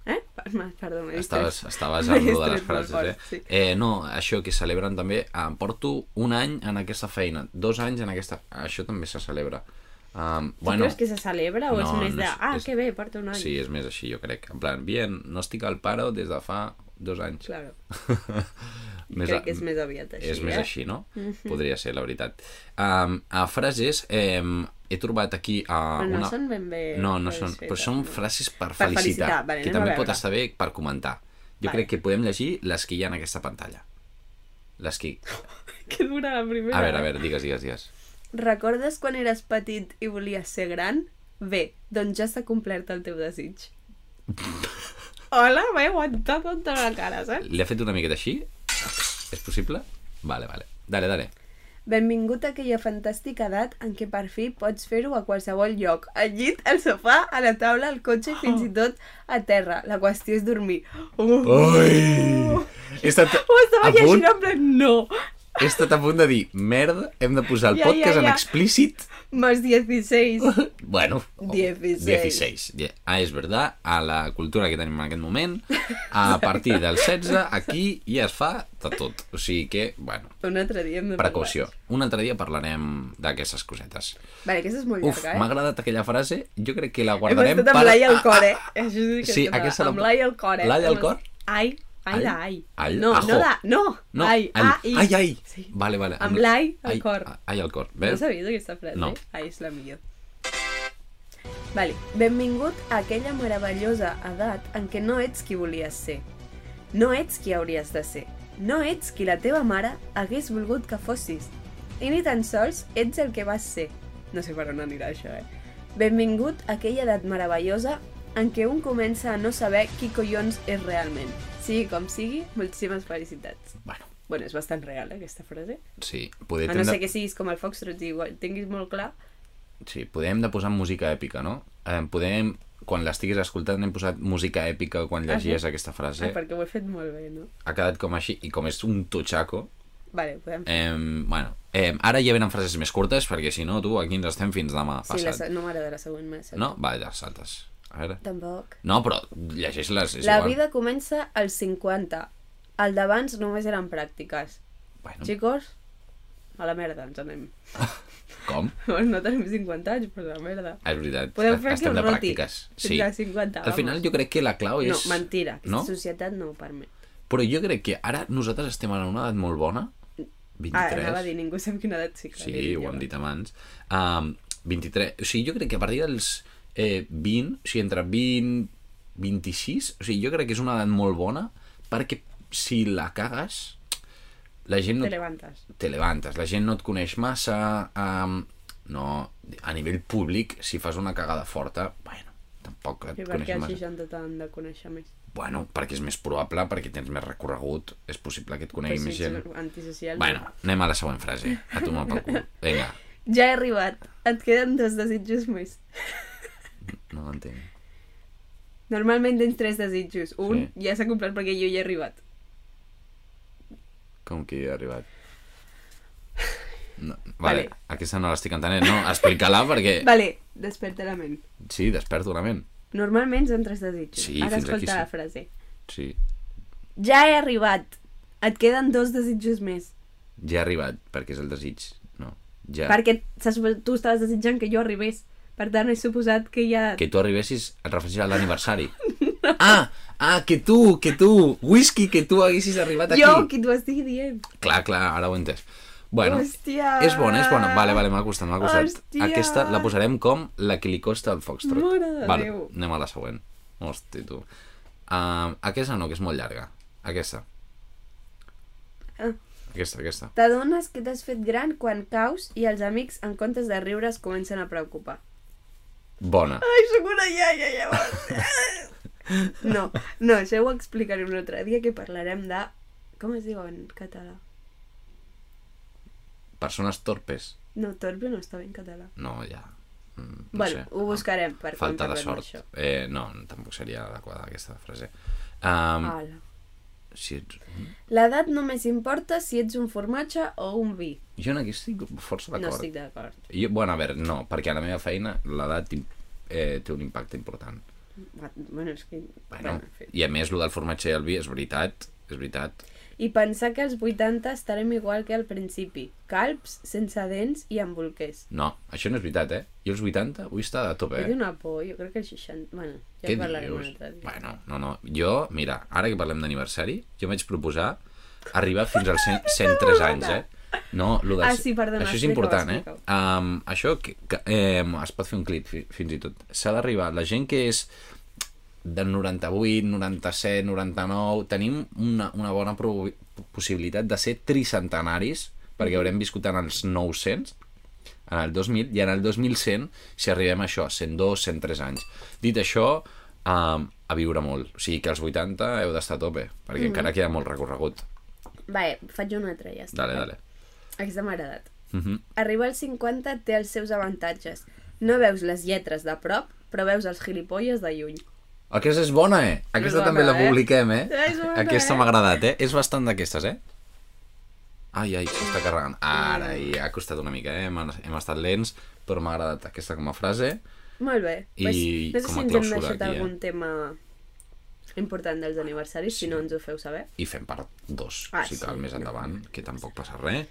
Speaker 1: Eh? Per- Perdó, m'he
Speaker 2: Estaves,
Speaker 1: distret.
Speaker 2: estaves
Speaker 1: *laughs* M'he
Speaker 2: amb lo de
Speaker 1: distret
Speaker 2: les
Speaker 1: molt
Speaker 2: frases, eh?
Speaker 1: fort, sí.
Speaker 2: eh? No, això que celebren també... Ah, porto un any en aquesta feina, dos anys en aquesta... Això també se celebra. Um,
Speaker 1: Tu
Speaker 2: bueno,
Speaker 1: creus que se celebra o és
Speaker 2: no,
Speaker 1: més
Speaker 2: no
Speaker 1: de...
Speaker 2: és-
Speaker 1: Ah,
Speaker 2: és-
Speaker 1: que bé, porta un any.
Speaker 2: Sí, és més així, jo crec. En plan, bien, no estic al paro des de fa dos anys.
Speaker 1: Claro,
Speaker 2: més
Speaker 1: crec que és més aviat així,
Speaker 2: és més
Speaker 1: eh?
Speaker 2: així, no? Podria ser, la veritat. Um, a frases, um, he trobat aquí... Uh,
Speaker 1: Però Ah, no
Speaker 2: una...
Speaker 1: *laughs* són ben bé
Speaker 2: No, no
Speaker 1: frases
Speaker 2: són, però
Speaker 1: fetes,
Speaker 2: són
Speaker 1: no?
Speaker 2: frases per
Speaker 1: Per felicitar,
Speaker 2: felicitar,
Speaker 1: vale,
Speaker 2: que
Speaker 1: anem a
Speaker 2: també
Speaker 1: veure.
Speaker 2: pot estar bé per comentar. Jo
Speaker 1: Vale.
Speaker 2: crec que podem llegir les que hi ha en aquesta pantalla. Les *laughs* que...
Speaker 1: Que dura la primera.
Speaker 2: A veure, a veure, digues, digues, digues.
Speaker 1: Recordes quan eres petit i volies ser gran? Bé, doncs ja s'ha complert el teu desig. Hola, m'he aguantat tota la cara, saps?
Speaker 2: L'he fet una miqueta així? És possible? Vale, vale. Dale, dale.
Speaker 1: Benvingut a aquella fantàstica edat en què per fi pots fer-ho a qualsevol lloc. Al llit, al sofà, a la taula, al cotxe i fins i tot a terra. La qüestió és dormir. Uh,
Speaker 2: Ui! He estat
Speaker 1: Ho estava
Speaker 2: a punt,
Speaker 1: llegint en plan, no.
Speaker 2: he estat a punt de dir, merda, hem de posar el
Speaker 1: Ja, ja,
Speaker 2: podcast en
Speaker 1: ja.
Speaker 2: explícit. *laughs*
Speaker 1: Más 16.
Speaker 2: Bueno,
Speaker 1: 16.
Speaker 2: 16. Die- Ah, és verdad, a la cultura que tenim en aquest moment, a partir del 16, aquí ja es fa de tot. O sigui que, bueno,
Speaker 1: *laughs* Un altre dia hem de parlar.
Speaker 2: precaució. Un altre dia parlarem d'aquestes cosetes.
Speaker 1: Vale, aquesta és molt
Speaker 2: Uf,
Speaker 1: llarga, eh?
Speaker 2: m'ha agradat aquella frase, jo crec que la
Speaker 1: Hem
Speaker 2: guardarem
Speaker 1: estat amb l'ai al
Speaker 2: Ah,
Speaker 1: cor, eh? *laughs*
Speaker 2: ah,
Speaker 1: Això sí que
Speaker 2: Sí,
Speaker 1: és català.
Speaker 2: aquesta la-
Speaker 1: Amb l'ai al cor, eh?
Speaker 2: L'ai al
Speaker 1: Amb-
Speaker 2: cor?
Speaker 1: Ai, ai de
Speaker 2: Ai?
Speaker 1: ai.
Speaker 2: Ai,
Speaker 1: no,
Speaker 2: ajo.
Speaker 1: no de... No,
Speaker 2: No,
Speaker 1: ai, ai.
Speaker 2: ai, ai.
Speaker 1: Sí.
Speaker 2: Vale, vale.
Speaker 1: Amb l'ai al
Speaker 2: ai,
Speaker 1: cor.
Speaker 2: Ai, al cor.
Speaker 1: No
Speaker 2: Veus?
Speaker 1: sabies aquesta frase?
Speaker 2: No.
Speaker 1: Ai, és la millor. Vale, benvingut a aquella meravellosa edat en què no ets qui volies ser. No ets qui hauries de ser. No ets qui la teva mare hagués volgut que fossis. I ni tan sols ets el que vas ser. No sé per on anirà això, eh? Benvingut a aquella edat meravellosa en què un comença a no saber qui collons és realment. Sigui com sigui, moltíssimes felicitats.
Speaker 2: Bueno,
Speaker 1: Bueno, és bastant real, eh, aquesta frase.
Speaker 2: Sí, poder
Speaker 1: A Ah, no
Speaker 2: tindre-
Speaker 1: ser que siguis com el Foxtrot i ho tinguis molt clar.
Speaker 2: Sí, podem de posar música èpica, no? Eh, podem, quan l'estiguis escoltant, hem posat música èpica quan
Speaker 1: Ah, sí?
Speaker 2: llegies aquesta frase.
Speaker 1: Ah, perquè ho he fet molt bé, no?
Speaker 2: Ha quedat com així, i com és un totxaco,
Speaker 1: Vale, podem...
Speaker 2: eh, bueno, eh, ara ja venen frases més curtes, perquè si no, tu, aquí ens estem fins demà
Speaker 1: Sí, la,
Speaker 2: passat.
Speaker 1: se- no m'agrada la següent eh? massa.
Speaker 2: No? Va, ja saltes. A veure.
Speaker 1: Tampoc.
Speaker 2: No, però llegeix-les, és
Speaker 1: La
Speaker 2: igual.
Speaker 1: vida comença als 50. El d'abans només eren pràctiques.
Speaker 2: Bueno,
Speaker 1: Chicos, a la merda ens anem. *laughs*
Speaker 2: com?
Speaker 1: No tenim 50 anys, però a la merda.
Speaker 2: És veritat.
Speaker 1: Podeu fer que
Speaker 2: estem
Speaker 1: el
Speaker 2: de
Speaker 1: roti.
Speaker 2: pràctiques. Sí.
Speaker 1: Fins a 50,
Speaker 2: Al final
Speaker 1: vamos.
Speaker 2: jo crec que la clau Oh, és...
Speaker 1: No, mentira. Aquesta
Speaker 2: No?
Speaker 1: societat no ho permet. Ah,
Speaker 2: Però jo crec que ara nosaltres estem en una edat molt bona. 23.
Speaker 1: Ah, anava a dir, ningú sap quina edat sí que
Speaker 2: Sí,
Speaker 1: li dic
Speaker 2: ho
Speaker 1: jo.
Speaker 2: hem dit abans. Um, 23. O sigui, jo crec que a partir dels eh, 20, o sigui, entre 20 26, o sigui, jo crec que és una edat molt bona perquè si la cagues, la gent no
Speaker 1: Te levantes.
Speaker 2: te levantes, la gent no et coneix massa, um, no, a nivell públic, si fas una cagada forta, bueno, tampoc et
Speaker 1: I per què
Speaker 2: coneixen
Speaker 1: als
Speaker 2: massa.
Speaker 1: 60 t'han de conèixer més?
Speaker 2: Bueno, perquè és més probable, perquè tens més recorregut, és possible que et conegui
Speaker 1: Però
Speaker 2: més
Speaker 1: si
Speaker 2: gent.
Speaker 1: ets Antisocial.
Speaker 2: Bueno, anem a la següent frase, a tomar pel cul. Vinga,
Speaker 1: Ja he arribat. Et queden dos desitjos més.
Speaker 2: no l'entenc.
Speaker 1: Normalment tens tres desitjos. Un
Speaker 2: Sí.
Speaker 1: ja s'ha complert perquè jo hi he arribat.
Speaker 2: Com que hi he arribat? No,
Speaker 1: Vale.
Speaker 2: vale, aquesta no l'estic entenent, no? Explica-la perquè...
Speaker 1: Vale, desperta la ment.
Speaker 2: Sí, desperto la ment.
Speaker 1: Normalment són tres desitjos.
Speaker 2: Sí,
Speaker 1: Ara
Speaker 2: fins
Speaker 1: escolta
Speaker 2: aquí sí.
Speaker 1: la frase.
Speaker 2: Sí,
Speaker 1: Ja he arribat. Et queden dos desitjos més.
Speaker 2: ja he arribat, perquè és el desig. No, ja.
Speaker 1: Perquè se supo- tu estaves desitjant que jo arribés. Per tant, he suposat que ja...
Speaker 2: Que tu arribessis, et refereixes a
Speaker 1: *laughs*
Speaker 2: l'aniversari. No. Ah, ah, que tu, que tu, whisky, que tu haguessis arribat aquí.
Speaker 1: Jo, qui t'ho estigui dient.
Speaker 2: Clar, clar, ara ho he entès. Bueno,
Speaker 1: Hòstia.
Speaker 2: és bona, és bona. Vale, vale, m'ha costat, m'ha costat.
Speaker 1: Hòstia.
Speaker 2: Aquesta la posarem com la que li costa al Foxtrot.
Speaker 1: Mare de
Speaker 2: vale,
Speaker 1: Déu.
Speaker 2: anem a la següent. Hosti, tu. Um, aquesta no, que és molt llarga. Aquesta.
Speaker 1: Ah.
Speaker 2: Aquesta, aquesta.
Speaker 1: T'adones que t'has fet gran quan caus i els amics, en comptes de riure, es comencen a preocupar.
Speaker 2: Bona.
Speaker 1: Ai, sóc una iaia, llavors. no, no, això ho explicaré un altre dia que parlarem de... Com es diu en català?
Speaker 2: Persones torpes.
Speaker 1: No, torpe no està bé en català.
Speaker 2: No, ja. Mm,
Speaker 1: No bueno,
Speaker 2: sé. Ah,
Speaker 1: ho buscarem per quan
Speaker 2: Falta de
Speaker 1: parlem
Speaker 2: sort.
Speaker 1: d'això.
Speaker 2: Eh, no, tampoc seria adequada aquesta frase. Um, ah.
Speaker 1: Ala.
Speaker 2: si ets...
Speaker 1: L'edat només importa si ets un formatge o un vi.
Speaker 2: Jo en aquí estic força
Speaker 1: No
Speaker 2: d'acord.
Speaker 1: estic d'acord.
Speaker 2: Jo, bueno, a veure, no, perquè a la meva feina l'edat im- eh, té un impacte important.
Speaker 1: Bueno, és que...
Speaker 2: Bueno,
Speaker 1: en fi.
Speaker 2: I a més, el del formatge i el vi és veritat, és veritat.
Speaker 1: I pensar que als 80 estarem igual que al principi. Calps, sense dents i amb bolquers.
Speaker 2: No, això no és veritat, eh? Jo als 80 vull estar a tope,
Speaker 1: Eh?
Speaker 2: eh?
Speaker 1: una por, jo crec que el 60... Bueno, ja
Speaker 2: Què
Speaker 1: en parlarem un
Speaker 2: dius?
Speaker 1: altre dia.
Speaker 2: Bueno, no, no. Jo, mira, ara que parlem d'aniversari, jo em vaig proposar arribar fins als 100, 103 anys, eh? No, lo de...
Speaker 1: Ah, sí, perdona,
Speaker 2: Això és
Speaker 1: explica-ho,
Speaker 2: important, eh?
Speaker 1: explica-ho.
Speaker 2: Um, això que, que, eh, es pot fer un clip, fi, fins i tot. S'ha d'arribar. La gent que és del 98, 97, 99, tenim una, una bona prob- possibilitat de ser tricentenaris, perquè haurem viscut en els 900, en el 2000, i en el 2100 si arribem a això, 102, 103 anys. Dit això, um, a viure molt. O sigui que als 80 heu d'estar a tope,
Speaker 1: Mhm.
Speaker 2: perquè mm -hmm. encara queda molt recorregut.
Speaker 1: Vale, eh, faig una altra, ja està. eh?
Speaker 2: Dale, dale.
Speaker 1: Aquesta m'ha agradat.
Speaker 2: Mm -hmm.
Speaker 1: Arribar als 50 té els seus avantatges. No veus les lletres de prop, però veus els gilipolles de lluny.
Speaker 2: Aquesta és bona, eh? Aquesta
Speaker 1: És bona,
Speaker 2: també la
Speaker 1: eh?
Speaker 2: publiquem, eh?
Speaker 1: És bona,
Speaker 2: Aquesta
Speaker 1: eh?
Speaker 2: m'ha agradat, eh? És bastant d'aquestes, eh? Ai, ai, s'està carregant. Ara, i ha costat una mica, eh? Hem, hem estat lents, però m'ha agradat aquesta com a frase.
Speaker 1: Molt bé.
Speaker 2: I
Speaker 1: no sé
Speaker 2: com a
Speaker 1: si ens hem
Speaker 2: clausura
Speaker 1: deixat
Speaker 2: aquí, eh?
Speaker 1: algun tema important dels aniversaris, si no ens ho feu saber.
Speaker 2: I fem part dos,
Speaker 1: Ah,
Speaker 2: si cal,
Speaker 1: sí.
Speaker 2: més endavant, que tampoc passa res.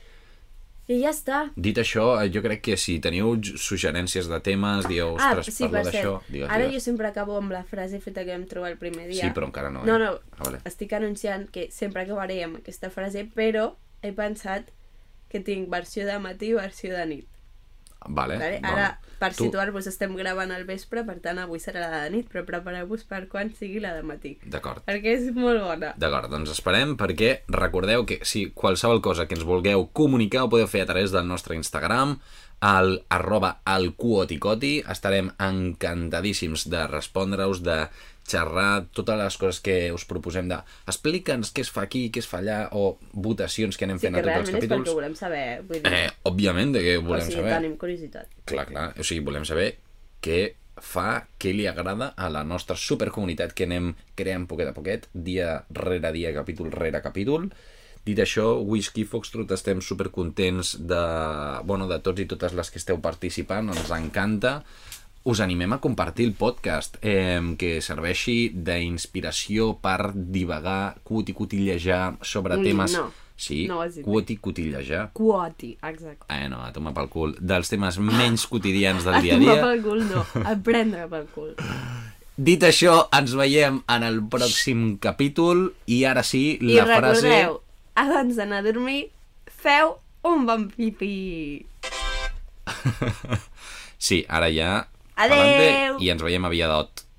Speaker 1: I ja està.
Speaker 2: Dit això, eh, jo crec que si teniu j- suggerències de temes, dieu,
Speaker 1: Ah,
Speaker 2: ostres,
Speaker 1: sí, per
Speaker 2: parla
Speaker 1: cert.
Speaker 2: d'això... Digues,
Speaker 1: Ara jo
Speaker 2: digues.
Speaker 1: sempre acabo amb la frase feta que vam trobar el primer dia.
Speaker 2: Sí, però encara no, eh?
Speaker 1: No, no,
Speaker 2: Ah, vale.
Speaker 1: estic anunciant que sempre acabaré amb aquesta frase, però he pensat que tinc versió de matí i versió de nit.
Speaker 2: Vale,
Speaker 1: Vale?
Speaker 2: bueno.
Speaker 1: Ara, per
Speaker 2: Eh, Tu-
Speaker 1: situar-vos, estem gravant al vespre, per tant, avui serà la de nit, però prepareu-vos per quan sigui la de matí.
Speaker 2: D'acord.
Speaker 1: Perquè és molt bona.
Speaker 2: D'acord, doncs esperem perquè recordeu que si qualsevol cosa que ens vulgueu comunicar ho podeu fer a través del nostre Instagram al arroba al estarem encantadíssims de respondre-us, de xerrar totes les coses que us proposem de explica'ns què es fa aquí, què es fa allà, o votacions que anem
Speaker 1: Sí,
Speaker 2: fent
Speaker 1: que
Speaker 2: a tots els
Speaker 1: realment és perquè
Speaker 2: capítols.
Speaker 1: ho volem saber. Vull dir,
Speaker 2: Eh, òbviament, de què
Speaker 1: o
Speaker 2: volem
Speaker 1: sigui,
Speaker 2: saber.
Speaker 1: tenim curiositat.
Speaker 2: Clar, clar. O sigui, volem saber què fa, què li agrada a la nostra supercomunitat que anem creant poquet a poquet, dia rere dia, capítol rere capítol. Dit això, Whisky Foxtrot, estem supercontents de, bueno, de tots i totes les que esteu participant, ens encanta. Us animem a compartir el podcast, eh, que serveixi d'inspiració per divagar, cuticutillejar sobre
Speaker 1: Mm,
Speaker 2: temes...
Speaker 1: no.
Speaker 2: Sí,
Speaker 1: No ho has dit bé.
Speaker 2: cuticutillejar.
Speaker 1: Quoti, exacte.
Speaker 2: Eh, no, a tomar pel cul dels
Speaker 1: *laughs*
Speaker 2: temes menys quotidians del dia a
Speaker 1: tomar
Speaker 2: dia.
Speaker 1: pel cul no, a prendre pel cul.
Speaker 2: Dit això, ens veiem en el pròxim capítol i ara sí,
Speaker 1: I
Speaker 2: la frase...
Speaker 1: recordeu, abans d'anar a dormir, feu un bon pipí.
Speaker 2: Sí, ara ja...
Speaker 1: Adeu!
Speaker 2: pa'lante, I ens veiem aviadot.